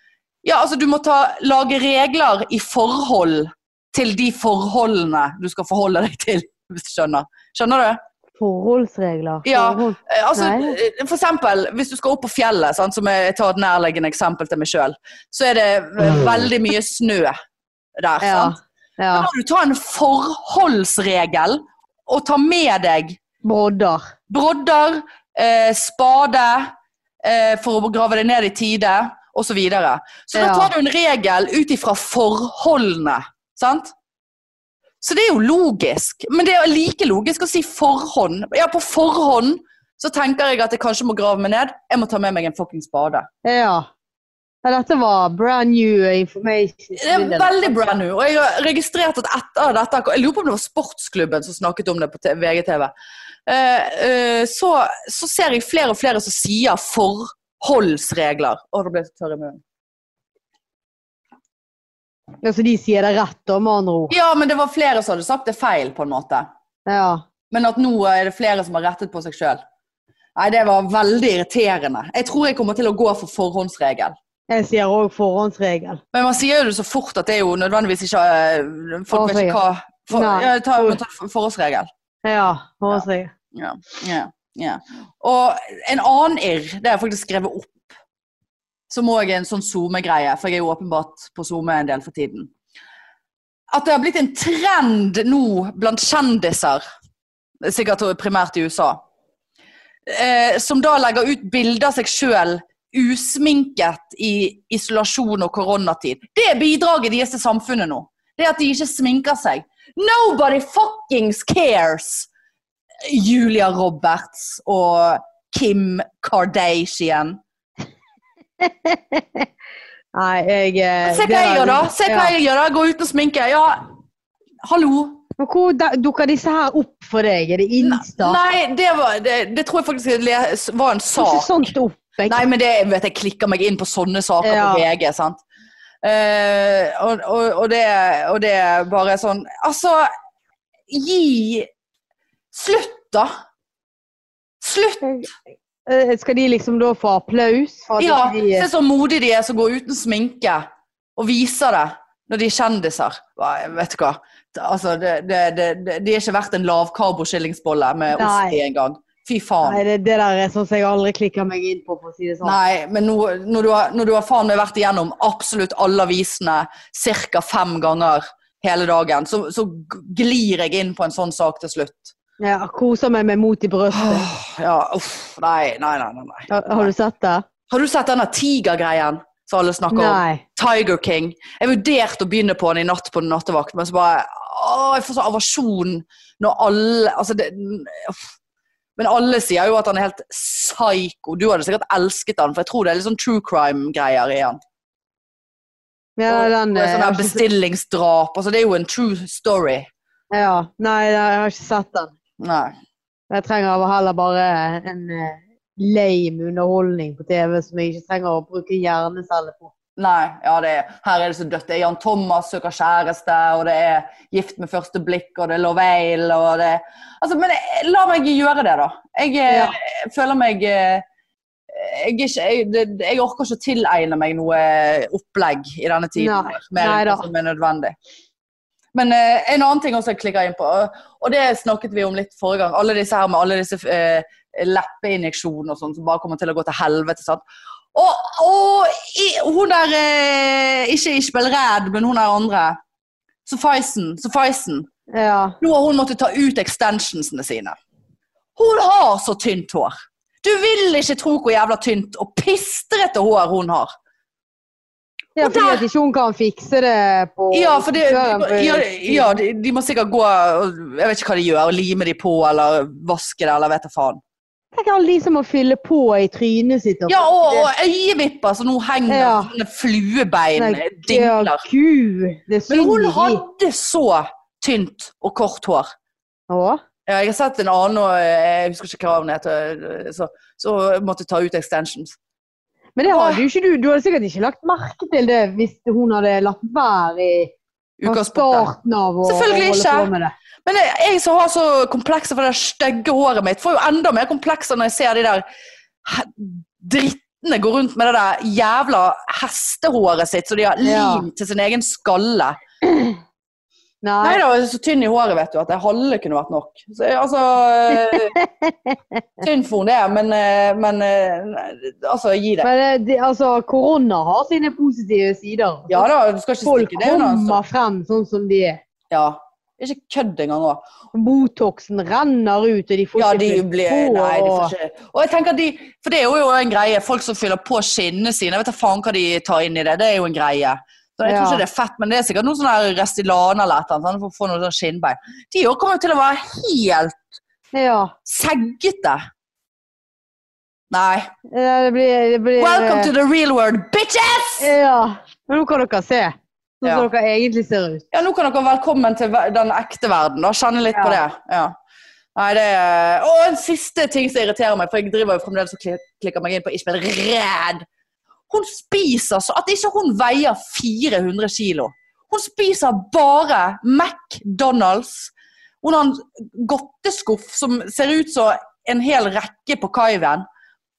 B: ja, altså Du må ta, lage regler i forhold til de forholdene du skal forholde deg til. hvis du Skjønner Skjønner du?
A: Forholdsregler.
B: Ja.
A: Forhold.
B: Eh, Altså,
A: Nei.
B: eh, for eksempel, hvis du skal opp på fjellet, sant, som jeg jeg tar et nærliggende eksempel til meg sjøl, så er det eh, veldig mye snø der.
A: Mm. Ja.
B: sant?
A: ja.
B: Da må du ta en forholdsregel og ta med deg
A: Brodder.
B: brodder, eh, spade eh, for å grave deg ned i tide, osv. Så, videre. så da
A: Ja.
B: tar du en regel ut ifra forholdene, sant? Så det er jo logisk. Men det er like logisk å si forhånd. Ja, på forhånd så tenker jeg at jeg kanskje må grave meg ned. Jeg må ta med meg en fuckings spade.
A: Ja. ja. Dette var brand new information.
B: Det er veldig brand new. Og jeg har registrert at etter dette Jeg lurer på om det var Sportsklubben som snakket om det på T- VGTV. Eh, eh, så, så ser jeg flere og flere som sier forholdsregler. Å, da ble jeg så tørr i munnen.
A: Ja, så de sier det rett, da, med andre ord.
B: Ja, men det var flere som hadde sagt det feil, på en måte.
A: Ja.
B: Men at nå er det flere som har rettet på seg sjøl. Nei, det var veldig irriterende. Jeg tror jeg kommer til å gå for forhåndsregel.
A: Jeg sier òg forhåndsregel.
B: Men man sier jo det så fort at det er jo nødvendigvis ikke eh, Folk vet ikke hva for,
A: Nei.
B: ja, ta, man tar forholdsregel.
A: Ja. forhåndsregel.
B: Ja, ja, ja. Og en annen irr, det har jeg faktisk skrevet opp, som òg er en sånn SoMe-greie, for jeg er jo åpenbart på SoMe en del for tiden. At det har blitt en trend nå blant kjendiser, sikkert primært i USA, eh, som da legger ut bilder av seg sjøl usminket i isolasjon og koronatid. Det er bidraget deres til samfunnet nå. Det er at de ikke sminker seg. Nobody fuckings cares! Julia Roberts og Kim Kardashian.
A: Nei, jeg eh,
B: Se
A: det
B: hva jeg
A: der-
B: gjør, da! Se hva
A: Ja.
B: jeg gjør da. Gå uten sminke. Ja, hallo.
A: Men hvor da, dukker disse her opp for deg? Er det Insta?
B: Nei, det, var, det, det tror jeg faktisk jeg les- var en
A: Hvordan
B: sak.
A: sånt opp? Jeg,
B: Nei, men det, jeg vet, jeg klikker meg inn på sånne saker
A: Ja.
B: på VG. sant? Eh, og, og, og, det, og det er bare sånn Altså, gi Slutt, da! Slutt!
A: Eh, Skal de liksom da få applaus? For at
B: Ja,
A: ikke de,
B: Se så modige de er som går uten sminke og viser det når de er kjendiser. Hva, jeg Vet du hva. Altså, det, det, det, det, de er ikke verdt en lavkarbo-skillingsbolle med
A: Nei.
B: ost i engang. Fy faen.
A: Nei, det, det der er sånn som jeg aldri klikker meg inn på, for å si det sånn.
B: Nei, men nå, når, du har, når du har faen meg vært igjennom absolutt alle avisene ca. fem ganger hele dagen, så, så g- glir jeg inn på en sånn sak til slutt.
A: Ja, koser meg med mot i brøstet.
B: Åh, Ja, uff. Nei, nei, nei. nei, nei.
A: Har, har du sett det?
B: Har du sett denne tigergreien som alle snakker om?
A: Nei.
B: Tiger King. Jeg vurderte å begynne på den i natt på nattevakt, men så bare Åh, jeg får så aversjon når alle Altså, det uff. Men alle sier jo at han er helt psyko. Du hadde sikkert elsket han, for jeg tror det er litt sånn true crime-greier i han.
A: Ja,
B: Og-
A: den,
B: og
A: eh, jeg
B: sånn der
A: har ikke,
B: bestillingsdrap. Altså, det er jo en true story.
A: ja. Nei, jeg har ikke sett den.
B: Nei.
A: Jeg trenger heller bare en eh, lame underholdning på TV som jeg ikke trenger å bruke hjerneceller på.
B: Nei, ja, det er, her er det så dødt. Det er Jan Thomas søker kjæreste, og det er gift med første blikk, og det er Lovail, og det Altså, men eh, la meg gjøre det, da. Jeg eh,
A: Ja.
B: føler meg eh, jeg, er ikke, jeg, det, jeg orker ikke å tilegne meg noe opplegg i denne tiden.
A: Nei.
B: her, Mer
A: Nei
B: enn
A: da.
B: det som er nødvendig. Men eh, en annen ting også jeg klikker inn på, og, og det snakket vi om litt forrige gang. Alle disse her med alle disse eh, leppeinjeksjonene og sånn som bare kommer til å gå til helvete. sant? Og, og i, hun der eh, Ikke Ishbel Red, men hun der andre. Sufficen. Sufficen.
A: Ja.
B: Nå har hun måttet ta ut extensionsene sine. Hun har så tynt hår. Du vil ikke tro hvor jævla tynt og pistrete hår hun har.
A: ja
B: Og
A: fordi
B: der-
A: at ikke hun kan fikse det på
B: Ja, for det,
A: før en-
B: de, ja, ja de, de må sikkert gå og Jeg vet ikke hva de gjør. og Lime de på, eller vaske det, eller vet da faen.
A: Tenk alle de som må fylle på i trynet sitt.
B: Ja, og, og øyevipper som nå henger
A: Ja.
B: sånne fluebein.
A: Nei, ja,
B: Dingler.
A: Gud, det er synd
B: Men hun
A: i de.
B: hadde så tynt og kort hår.
A: Å,
B: Ja, jeg har sett en annen, og eh, jeg husker ikke hva hun heter, eh, så, så måtte ta ut extensions.
A: Men det hadde jo ikke du. Du hadde sikkert ikke lagt merke til det hvis hun hadde latt være i fra
B: Utgangspunktet.
A: starten av å å
B: Selvfølgelig
A: holde
B: ikke.
A: på med det.
B: Men jeg, jeg som har så komplekser for det stygge håret mitt, får jo enda mer komplekser når jeg ser de der he- drittene gå rundt med det der jævla hestehåret sitt, så de har
A: Ja.
B: limt til sin egen skalle.
A: Nei.
B: Nei da, jeg er så tynn i håret, vet du, at det halve kunne vært nok. Så, jeg- altså eh, Tynn for hun det er, men, eh, men eh, nei, Altså, gi det.
A: Men eh, det, altså, korona har sine positive sider.
B: Ja da, du skal ikke
A: Folk
B: stikke det unna. altså.
A: kommer frem sånn som de er.
B: Ja. Ikke kødd engang òg.
A: Botoxen renner ut, og de får
B: Ja,
A: ikke
B: de
A: fylt
B: blir
A: på.
B: Nei, de
A: og-
B: får ikke Og jeg tenker at de For det er jo en greie. Folk som fyller på skinnene sine. Jeg vet da faen hva de tar inn i det. Det er jo en greie. Så jeg tror
A: Ja.
B: ikke det er fett, men det er sikkert noen sånne her Restylane eller et eller annet. sånn, For å få noe sånn skinnbein. De òg kommer jo til å være helt
A: Ja.
B: seggete. Nei.
A: eh, Det blir, det blir
B: Welcome to the real world, bitches!
A: Ja. Men nå kan dere se sånn
B: Ja.
A: som dere egentlig ser ut.
B: Ja, nå kan dere velkommen til ver- den ekte verden. Da. Kjenne litt
A: Ja.
B: på det. Ja. Nei, det er... Og en siste ting som irriterer meg, for jeg driver jo fremdeles og kli- klikker meg inn på Ishbel Red. Hun spiser så At ikke hun veier 400 kilo. Hun spiser bare McDonald's. Hun har en godteskuff som ser ut som en hel rekke på kaiven.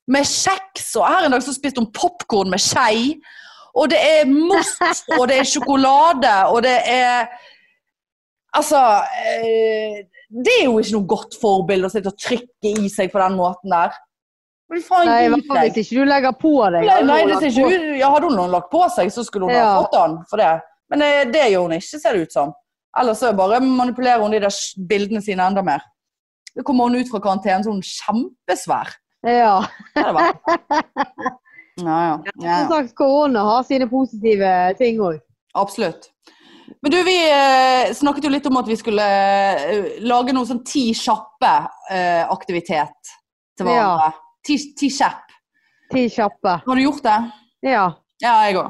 B: Med kjeks, og her en dag så spiste hun popkorn med skei. Og det er most, og det er sjokolade, og det er Altså eh, Det er jo ikke noe godt forbilde å sitte og trykke i seg på den måten der. Men faen,
A: Nei, i
B: gi
A: hvert fall
B: deg.
A: hvis ikke du legger på deg.
B: Nei, nei, det ser ikke ut ja, Hadde hun noen lagt på seg, så skulle hun ha
A: Ja.
B: fått den for det. Men eh, det gjør hun ikke, ser det ut som. Ellers så bare manipulerer hun de der s- bildene sine enda mer. Så kommer hun ut fra karantenen så er hun kjempesvær.
A: Ja.
B: Det er det bare. Ja, sånn. ja. ja.
A: Som sagt, korona har sine positive ting òg.
B: Absolutt. Men du, vi eh, snakket jo litt om at vi skulle eh, lage noe sånn ti kjappe-aktivitet til hverandre. Ti, ti kjapp.
A: Ti kjappe.
B: Har du gjort det?
A: Ja,
B: Ja, jeg òg.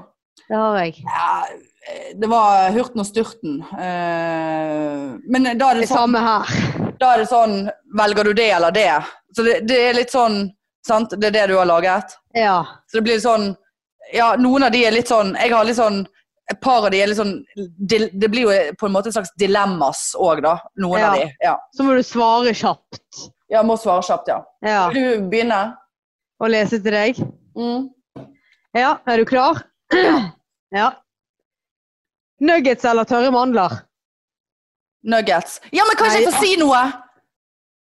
A: det har jeg.
B: Ja, eh, det var hurten og sturten. Eh, men da er
A: Det
B: det sånn,
A: samme her.
B: da er det sånn Velger du det eller det? Så det, det er litt sånn Sant? Det er det du har laget?
A: Ja.
B: Så det blir sånn Ja, noen av de er litt sånn Jeg har litt sånn Et par av de er litt sånn dil- Det blir jo på en måte et slags dilemmas òg, da. Noen
A: Ja.
B: av de. Ja.
A: Så må du svare kjapt.
B: ja. Må svare kjapt, ja.
A: Ja.
B: Vil du begynne?
A: Og lese til deg.
B: Mm.
A: Ja, er du klar? Ja. Nuggets eller tørre mandler?
B: Nuggets. Ja, men kanskje jeg
A: Nei,
B: får si noe?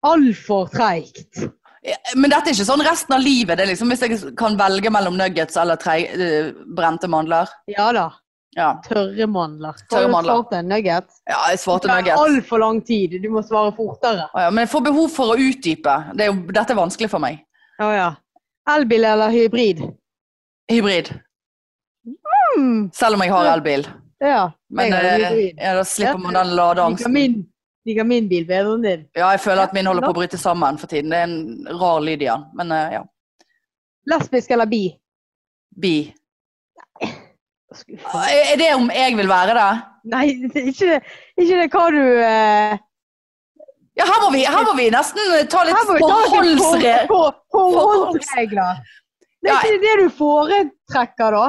A: Altfor treigt.
B: Ja, Men dette er ikke sånn resten av livet. Det er liksom Hvis jeg kan velge mellom nuggets eller tre, eh, brente mandler.
A: Ja da.
B: Ja,
A: Tørre mandler.
B: Tørre mandler.
A: Har du svart en nugget?
B: ja jeg svarte
A: Det er
B: nuggets.
A: altfor lang tid. Du må svare fortere.
B: Å ja, men jeg får behov for å utdype. Det er jo, dette er vanskelig for meg.
A: Å ja. Elbil eller hybrid?
B: Hybrid.
A: Hmm.
B: Selv om jeg har elbil.
A: Ja.
B: Men
A: jeg har
B: eh,
A: hybrid.
B: ja, da slipper man den
A: Liker
B: ladeangsten.
A: min, liker min bil bedre enn din.
B: Ja, jeg føler at min holder på å bryte sammen for tiden. Det er en rar lyd i den. Men eh, ja.
A: Lesbisk eller bi?
B: Bi.
A: Skuff.
B: Ah, Er det om jeg vil være det?
A: Nei, det er ikke, ikke det hva du eh,
B: Ja, her må vi, her må vi nesten ta litt
A: Her må vi ta litt
B: forholdsregler.
A: for- for- forholdsregler. Det er ikke det du foretrekker, da?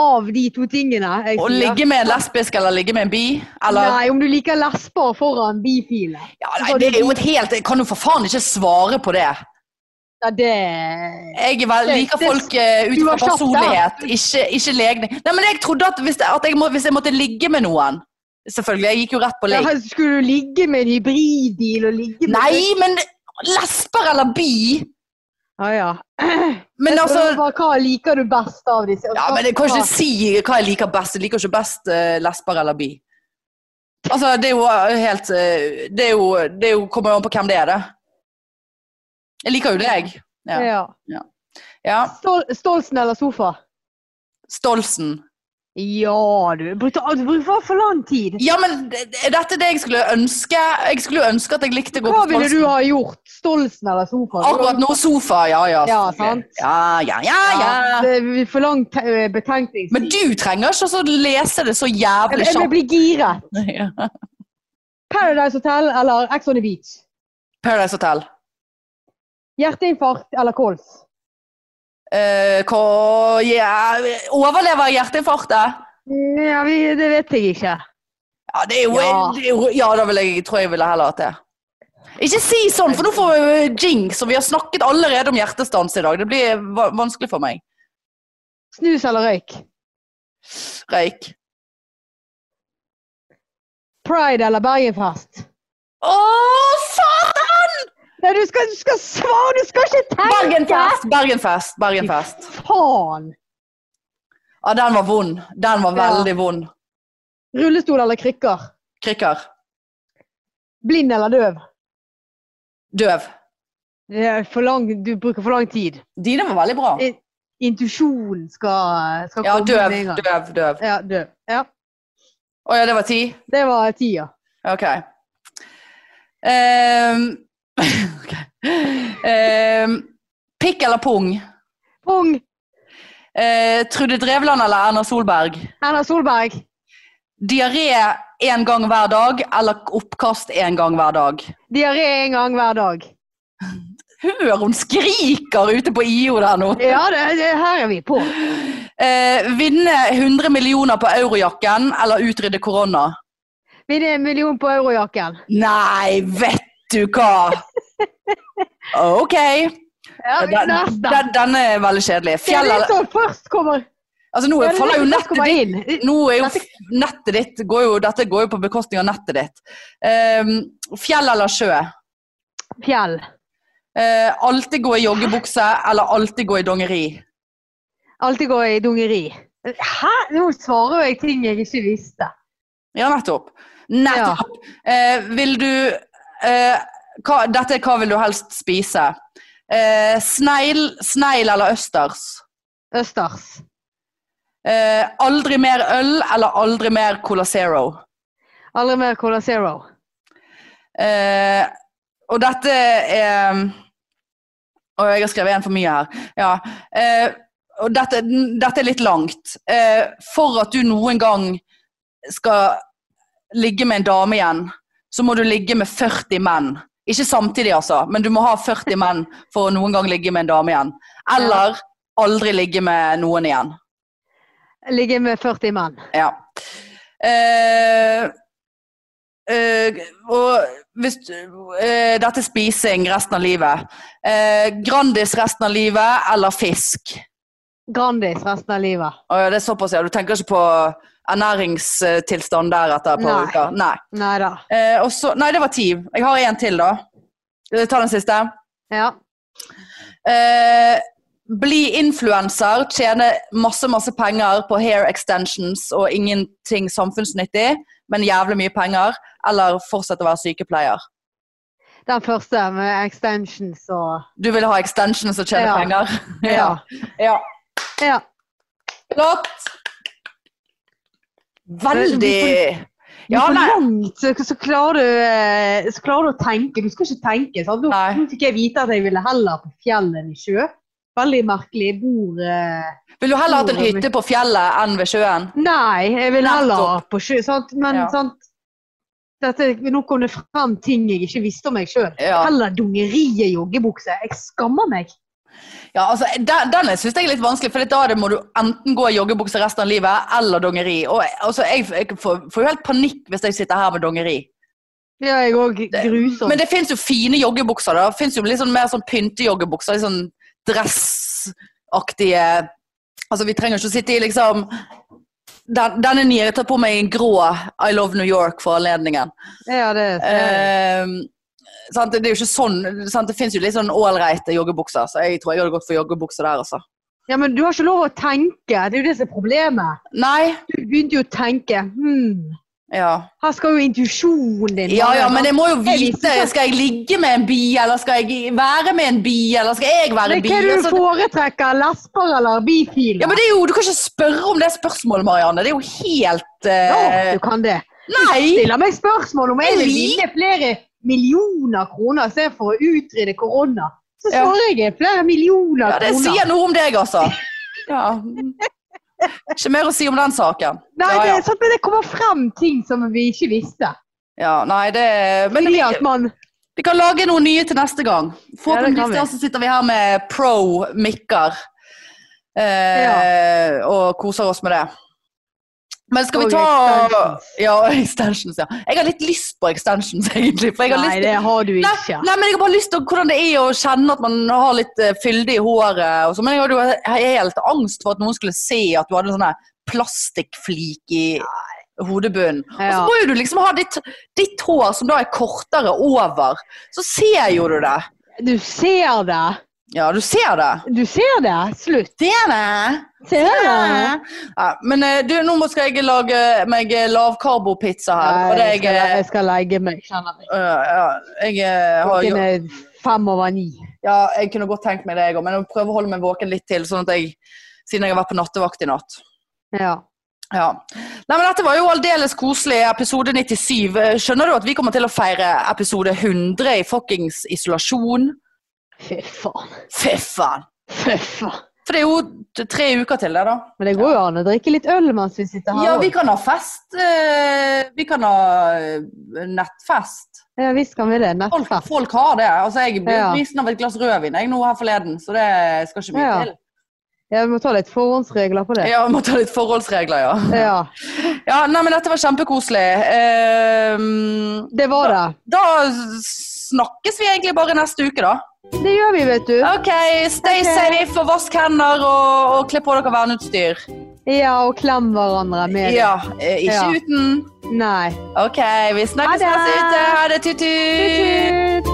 A: Av de to tingene jeg
B: Å ligge med en lesbisk eller ligge med en bi? Eller
A: Nei, om du liker lesber foran bifile.
B: ja, nei, Det er jo et helt Jeg kan jo for faen ikke svare på det.
A: Ja, det
B: Jeg er vel,
A: Det-
B: liker
A: det-
B: folk eh, ut
A: du
B: fra
A: har kjapt, da.
B: personlighet, ikke, ikke legning. Nei, men jeg trodde at hvis, at jeg, må, hvis jeg måtte ligge med noen Selvfølgelig, jeg gikk jo rett på ligg.
A: ja, Skulle du ligge med en hybridbil og ligge med
B: Nei, men lesber eller bi?
A: Ja, ja.
B: Men
A: Jeg prøver
B: altså
A: bare, Hva liker du best av disse? Altså,
B: Ja, men jeg kan ikke si hva jeg liker best. Jeg liker ikke best eh, lesber eller bi. Altså, det er jo eh, helt eh, Det, er jo, det er jo, kommer jo an på hvem det er, det. Jeg liker jo deg. Ja.
A: ja.
B: ja.
A: Stol Stolsen eller sofa?
B: Stolsen.
A: Ja, du brukte du brukte for lang tid.
B: Ja, men det- er dette det jeg skulle ønske? Jeg skulle ønske at jeg likte å gå
A: Hva
B: på
A: ville
B: Stolsen.
A: du ha gjort? Stolsen eller sofa?
B: Akkurat nå sofa, ja ja.
A: Ja,
B: selvfølgelig.
A: sant.
B: Ja, ja, ja, ja.
A: Det er for lang te- eh, betenkningstid.
B: Men du trenger ikke å lese det så
A: Jeg-
B: jævlig
A: Jeg
B: kjapt.
A: blir giret.
B: Ja.
A: Paradise Hotel eller Ex on the Beach?
B: Paradise Hotel.
A: Hjerteinfarkt eller kols?
B: Eh, hva, ja, overlever hjerteinfarktet?
A: Ja, det vet jeg ikke.
B: Ja, det er jo,
A: Ja.
B: det er jo, ja da vil jeg, tror jeg ville heller hatt det. Ikke si sånn, for nå får vi eh, jinx, og vi har snakket allerede om hjertestans i dag. Det blir va- vanskelig for meg.
A: Snus eller røyk?
B: Røyk.
A: Pride eller Bergenfest?
B: Å, satan!
A: Nei, du skal, du skal svare, du skal ikke tenke!
B: Bergenfest, Bergenfest, Bergenfest.
A: Faen!
B: Ja, den var vond. Den var
A: Ja.
B: veldig vond.
A: Rullestol eller krykker?
B: Krykker.
A: Blind eller døv?
B: Døv.
A: Det er for lang, du bruker for lang tid.
B: Dine var veldig bra.
A: I- Intuisjonen skal, skal
B: Ja,
A: komme
B: døv,
A: med en gang.
B: døv, døv.
A: Ja, døv. Ja,
B: Å ja, det var ti?
A: det var tida.
B: Ok. Ehm, ok. Ehm, pikk eller pung?
A: Pung!
B: Eh, Trude Drevland eller Erna Solberg?
A: Erna Solberg.
B: Diaré én gang hver dag eller oppkast én gang hver dag?
A: Diaré en gang hver dag.
B: Hør, hun skriker ute på IO der nå!
A: Ja, det, det, her er vi på.
B: Eh, vinne 100 millioner på eurojakken eller utrydde korona?
A: Vinne en million på eurojakken.
B: Nei, vet du hva! Ok.
A: Ja,
B: Den,
A: neste.
B: den, den er veldig kjedelig.
A: Det er
B: Fjell
A: det
B: eller
A: som først kommer
B: Altså, nå
A: det er det
B: faller jo
A: som først
B: nettet
A: kommer
B: ditt
A: inn.
B: Nå er jo f- nettet ditt går jo, Dette går jo på bekostning av nettet ditt. Ehm, fjell eller sjø?
A: Fjell.
B: Eh, alltid gå i joggebukse eller alltid gå i dongeri?
A: Alltid gå i dungeri. Hæ? Nå svarer jeg ting jeg ikke visste.
B: Ja, nettopp. Nettopp! Eh, vil du eh, hva, Dette er hva vil du helst spise? Eh, snegl, snegl eller østers?
A: Østers.
B: Eh, aldri mer øl eller aldri mer Cola Zero.
A: Aldri mer Cola Zero.
B: Eh, og dette er Og jeg har skrevet en for mye her. Ja. Eh, og dette, dette er litt langt. Eh, for at du noen gang skal ligge med en dame igjen, så må du ligge med 40 menn. Ikke samtidig, altså, men du må ha 40 menn for å noen gang ligge med en dame igjen. Eller aldri ligge med noen igjen.
A: Ligger med 40 mann.
B: Ja. Eh, eh, og hvis du- eh, Dette er spising resten av livet. Eh, grandis resten av livet eller fisk?
A: Grandis resten av livet.
B: Å ja, det er såpass, ja. Du tenker ikke på ernæringstilstand der etter et par
A: Nei.
B: uker? Nei.
A: Nei da.
B: Eh, og så, nei, det var ti. Jeg har en til, da. Eh, Ta den siste.
A: Ja.
B: Eh, bli influenser, tjene masse, masse penger på hair extensions og ingenting samfunnsnyttig, men jævlig mye penger, eller fortsette å være sykepleier.
A: Den første med extensions og
B: Du vil ha extensions og tjene
A: Ja.
B: penger?
A: Ja.
B: ja.
A: ja.
B: Flott! Veldig
A: Det er
B: Ja,
A: for
B: nei.
A: langt, så, så, klarer du, eh, så klarer du å tenke. Du skal ikke tenke. Sant? Nå,
B: Nei.
A: nå fikk jeg vite at jeg ville heller på fjell enn i sjø. Veldig merkelig. Jeg bor eh,
B: Vil du heller hatt en hytte på fjellet enn ved sjøen?
A: Nei, jeg vil heller på sjø. Sant? Men
B: Ja.
A: sant dette, Nå kom det frem ting jeg ikke visste om meg sjøl.
B: Ja.
A: Heller dongeri i joggebukse. Jeg skammer meg.
B: Ja, altså, den, den syns jeg er litt vanskelig, for da det må du enten gå i joggebukse resten av livet eller dongeri. Og, altså, jeg, jeg får, får jo helt panikk hvis jeg sitter her med dongeri.
A: Ja, jeg òg.
B: Det-
A: Grusomt.
B: Men det fins jo fine joggebukser. da. Det fins jo litt sånn mer sånn pyntejoggebukser. Litt sånn dressaktige Altså, vi trenger ikke å sitte i liksom den, Denne nye jeg tar på meg en grå I Love New York for anledningen.
A: ja, det ser jeg.
B: Ehm, sant? Det er jo ikke sånn sant? Det fins jo litt sånn ålreite joggebukser, så jeg tror jeg hadde gått for joggebukser der, altså.
A: ja, men du har ikke lov å tenke. Det er jo det som er problemet.
B: Nei.
A: Du begynte jo å tenke. Hmm.
B: Ja.
A: Her skal jo intuisjonen din
B: Ja,
A: være,
B: ja, men
A: sant?
B: jeg må jo
A: Jeg visste
B: vite
A: ikke.
B: Skal jeg ligge med en bi, eller skal jeg være med en bi, eller skal jeg være
A: Men
B: bi?
A: Hva er det
B: Altså,
A: du foretrekker? Lesber eller bifile?
B: ja, men det er jo, Du kan ikke spørre om det spørsmålet, Marianne. Det er jo helt
A: Ja,
B: eh,
A: du kan det.
B: Nei!
A: Stiller meg spørsmål om jeg vil vinne flere millioner kroner i stedet for å utrydde korona. Så
B: Ja.
A: svarer jeg flere millioner
B: Ja, det
A: kroner.
B: sier noe om deg, altså. Ja. Ikke mer å si om den saken.
A: Nei,
B: ja,
A: det,
B: ja.
A: er sant, men det kommer frem ting som vi ikke visste.
B: Ja, nei, det Men
A: Fordi
B: vi,
A: at man
B: vi kan lage noe nye til neste gang. Forhåpentligvis
A: vi.
B: da så sitter vi her med pro mikker eh, og koser oss med det. Men skal vi
A: Og
B: ta
A: extensions.
B: Ja, extensions, ja. Jeg har litt lyst på extensions, egentlig. For jeg har
A: Nei,
B: lyst
A: det har du ikke.
B: Nei, men jeg har bare lyst til å- hvordan det er å kjenne at man har litt eh, fyldig i håret. Og så, men jeg hadde jo he- helt angst for at noen skulle se at du hadde en sånn her plastikkflik i hodebunnen. Og så
A: Ja.
B: må jo du liksom ha ditt, ditt hår som da er kortere over. Så ser jo du det.
A: Du ser det.
B: Ja, du ser det.
A: Du ser det. Slutt.
B: Ser det.
A: Ser det.
B: Ja, men eh, du, nå må skal jeg lage meg eh, lavkarbopizza her.
A: Nei,
B: Og det
A: jeg, skal,
B: jeg,
A: jeg skal legge meg, kjenner jeg.
B: eh, ja, jeg eh, har jo
A: Klokken er fem over ni.
B: Ja, jeg kunne godt tenkt meg det, jeg òg, men jeg prøver å holde meg våken litt til, sånn at jeg, siden jeg har vært på nattevakt i natt.
A: Ja.
B: Ja. Nei, men Dette var jo aldeles koselig. Episode 97. Skjønner du at vi kommer til å feire episode 100 i fuckings isolasjon?
A: Fy faen.
B: Fy faen!
A: Fy faen.
B: For det er jo t- tre uker til det, da.
A: Men det går jo an å drikke litt øl mens vi sitter her.
B: Ja,
A: også.
B: vi kan ha fest. eh, Vi kan ha eh, nettfest.
A: Ja, visst kan vi det.
B: Folk,
A: Nettfest.
B: folk har det. Altså, jeg ble
A: Ja.
B: visen av et glass rødvin jeg nå her forleden, så det skal ikke mye
A: Ja.
B: til.
A: Ja, vi må ta litt forhåndsregler på det.
B: Ja, vi må ta litt forholdsregler, ja.
A: Ja,
B: Ja, nei, men dette var kjempekoselig. Ehm,
A: det var det.
B: da snakkes vi egentlig bare neste uke, da.
A: Det gjør vi, vet du.
B: OK, stay
A: Ok.
B: safe og vask hender og, og kle på dere verneutstyr.
A: Ja, og klem hverandre med
B: Ja, eh, ikke
A: Ja.
B: uten.
A: Nei.
B: OK, vi
A: Ha
B: snakkes
A: det.
B: neste uke. Ha det, tut-tut.
A: Tut-tut.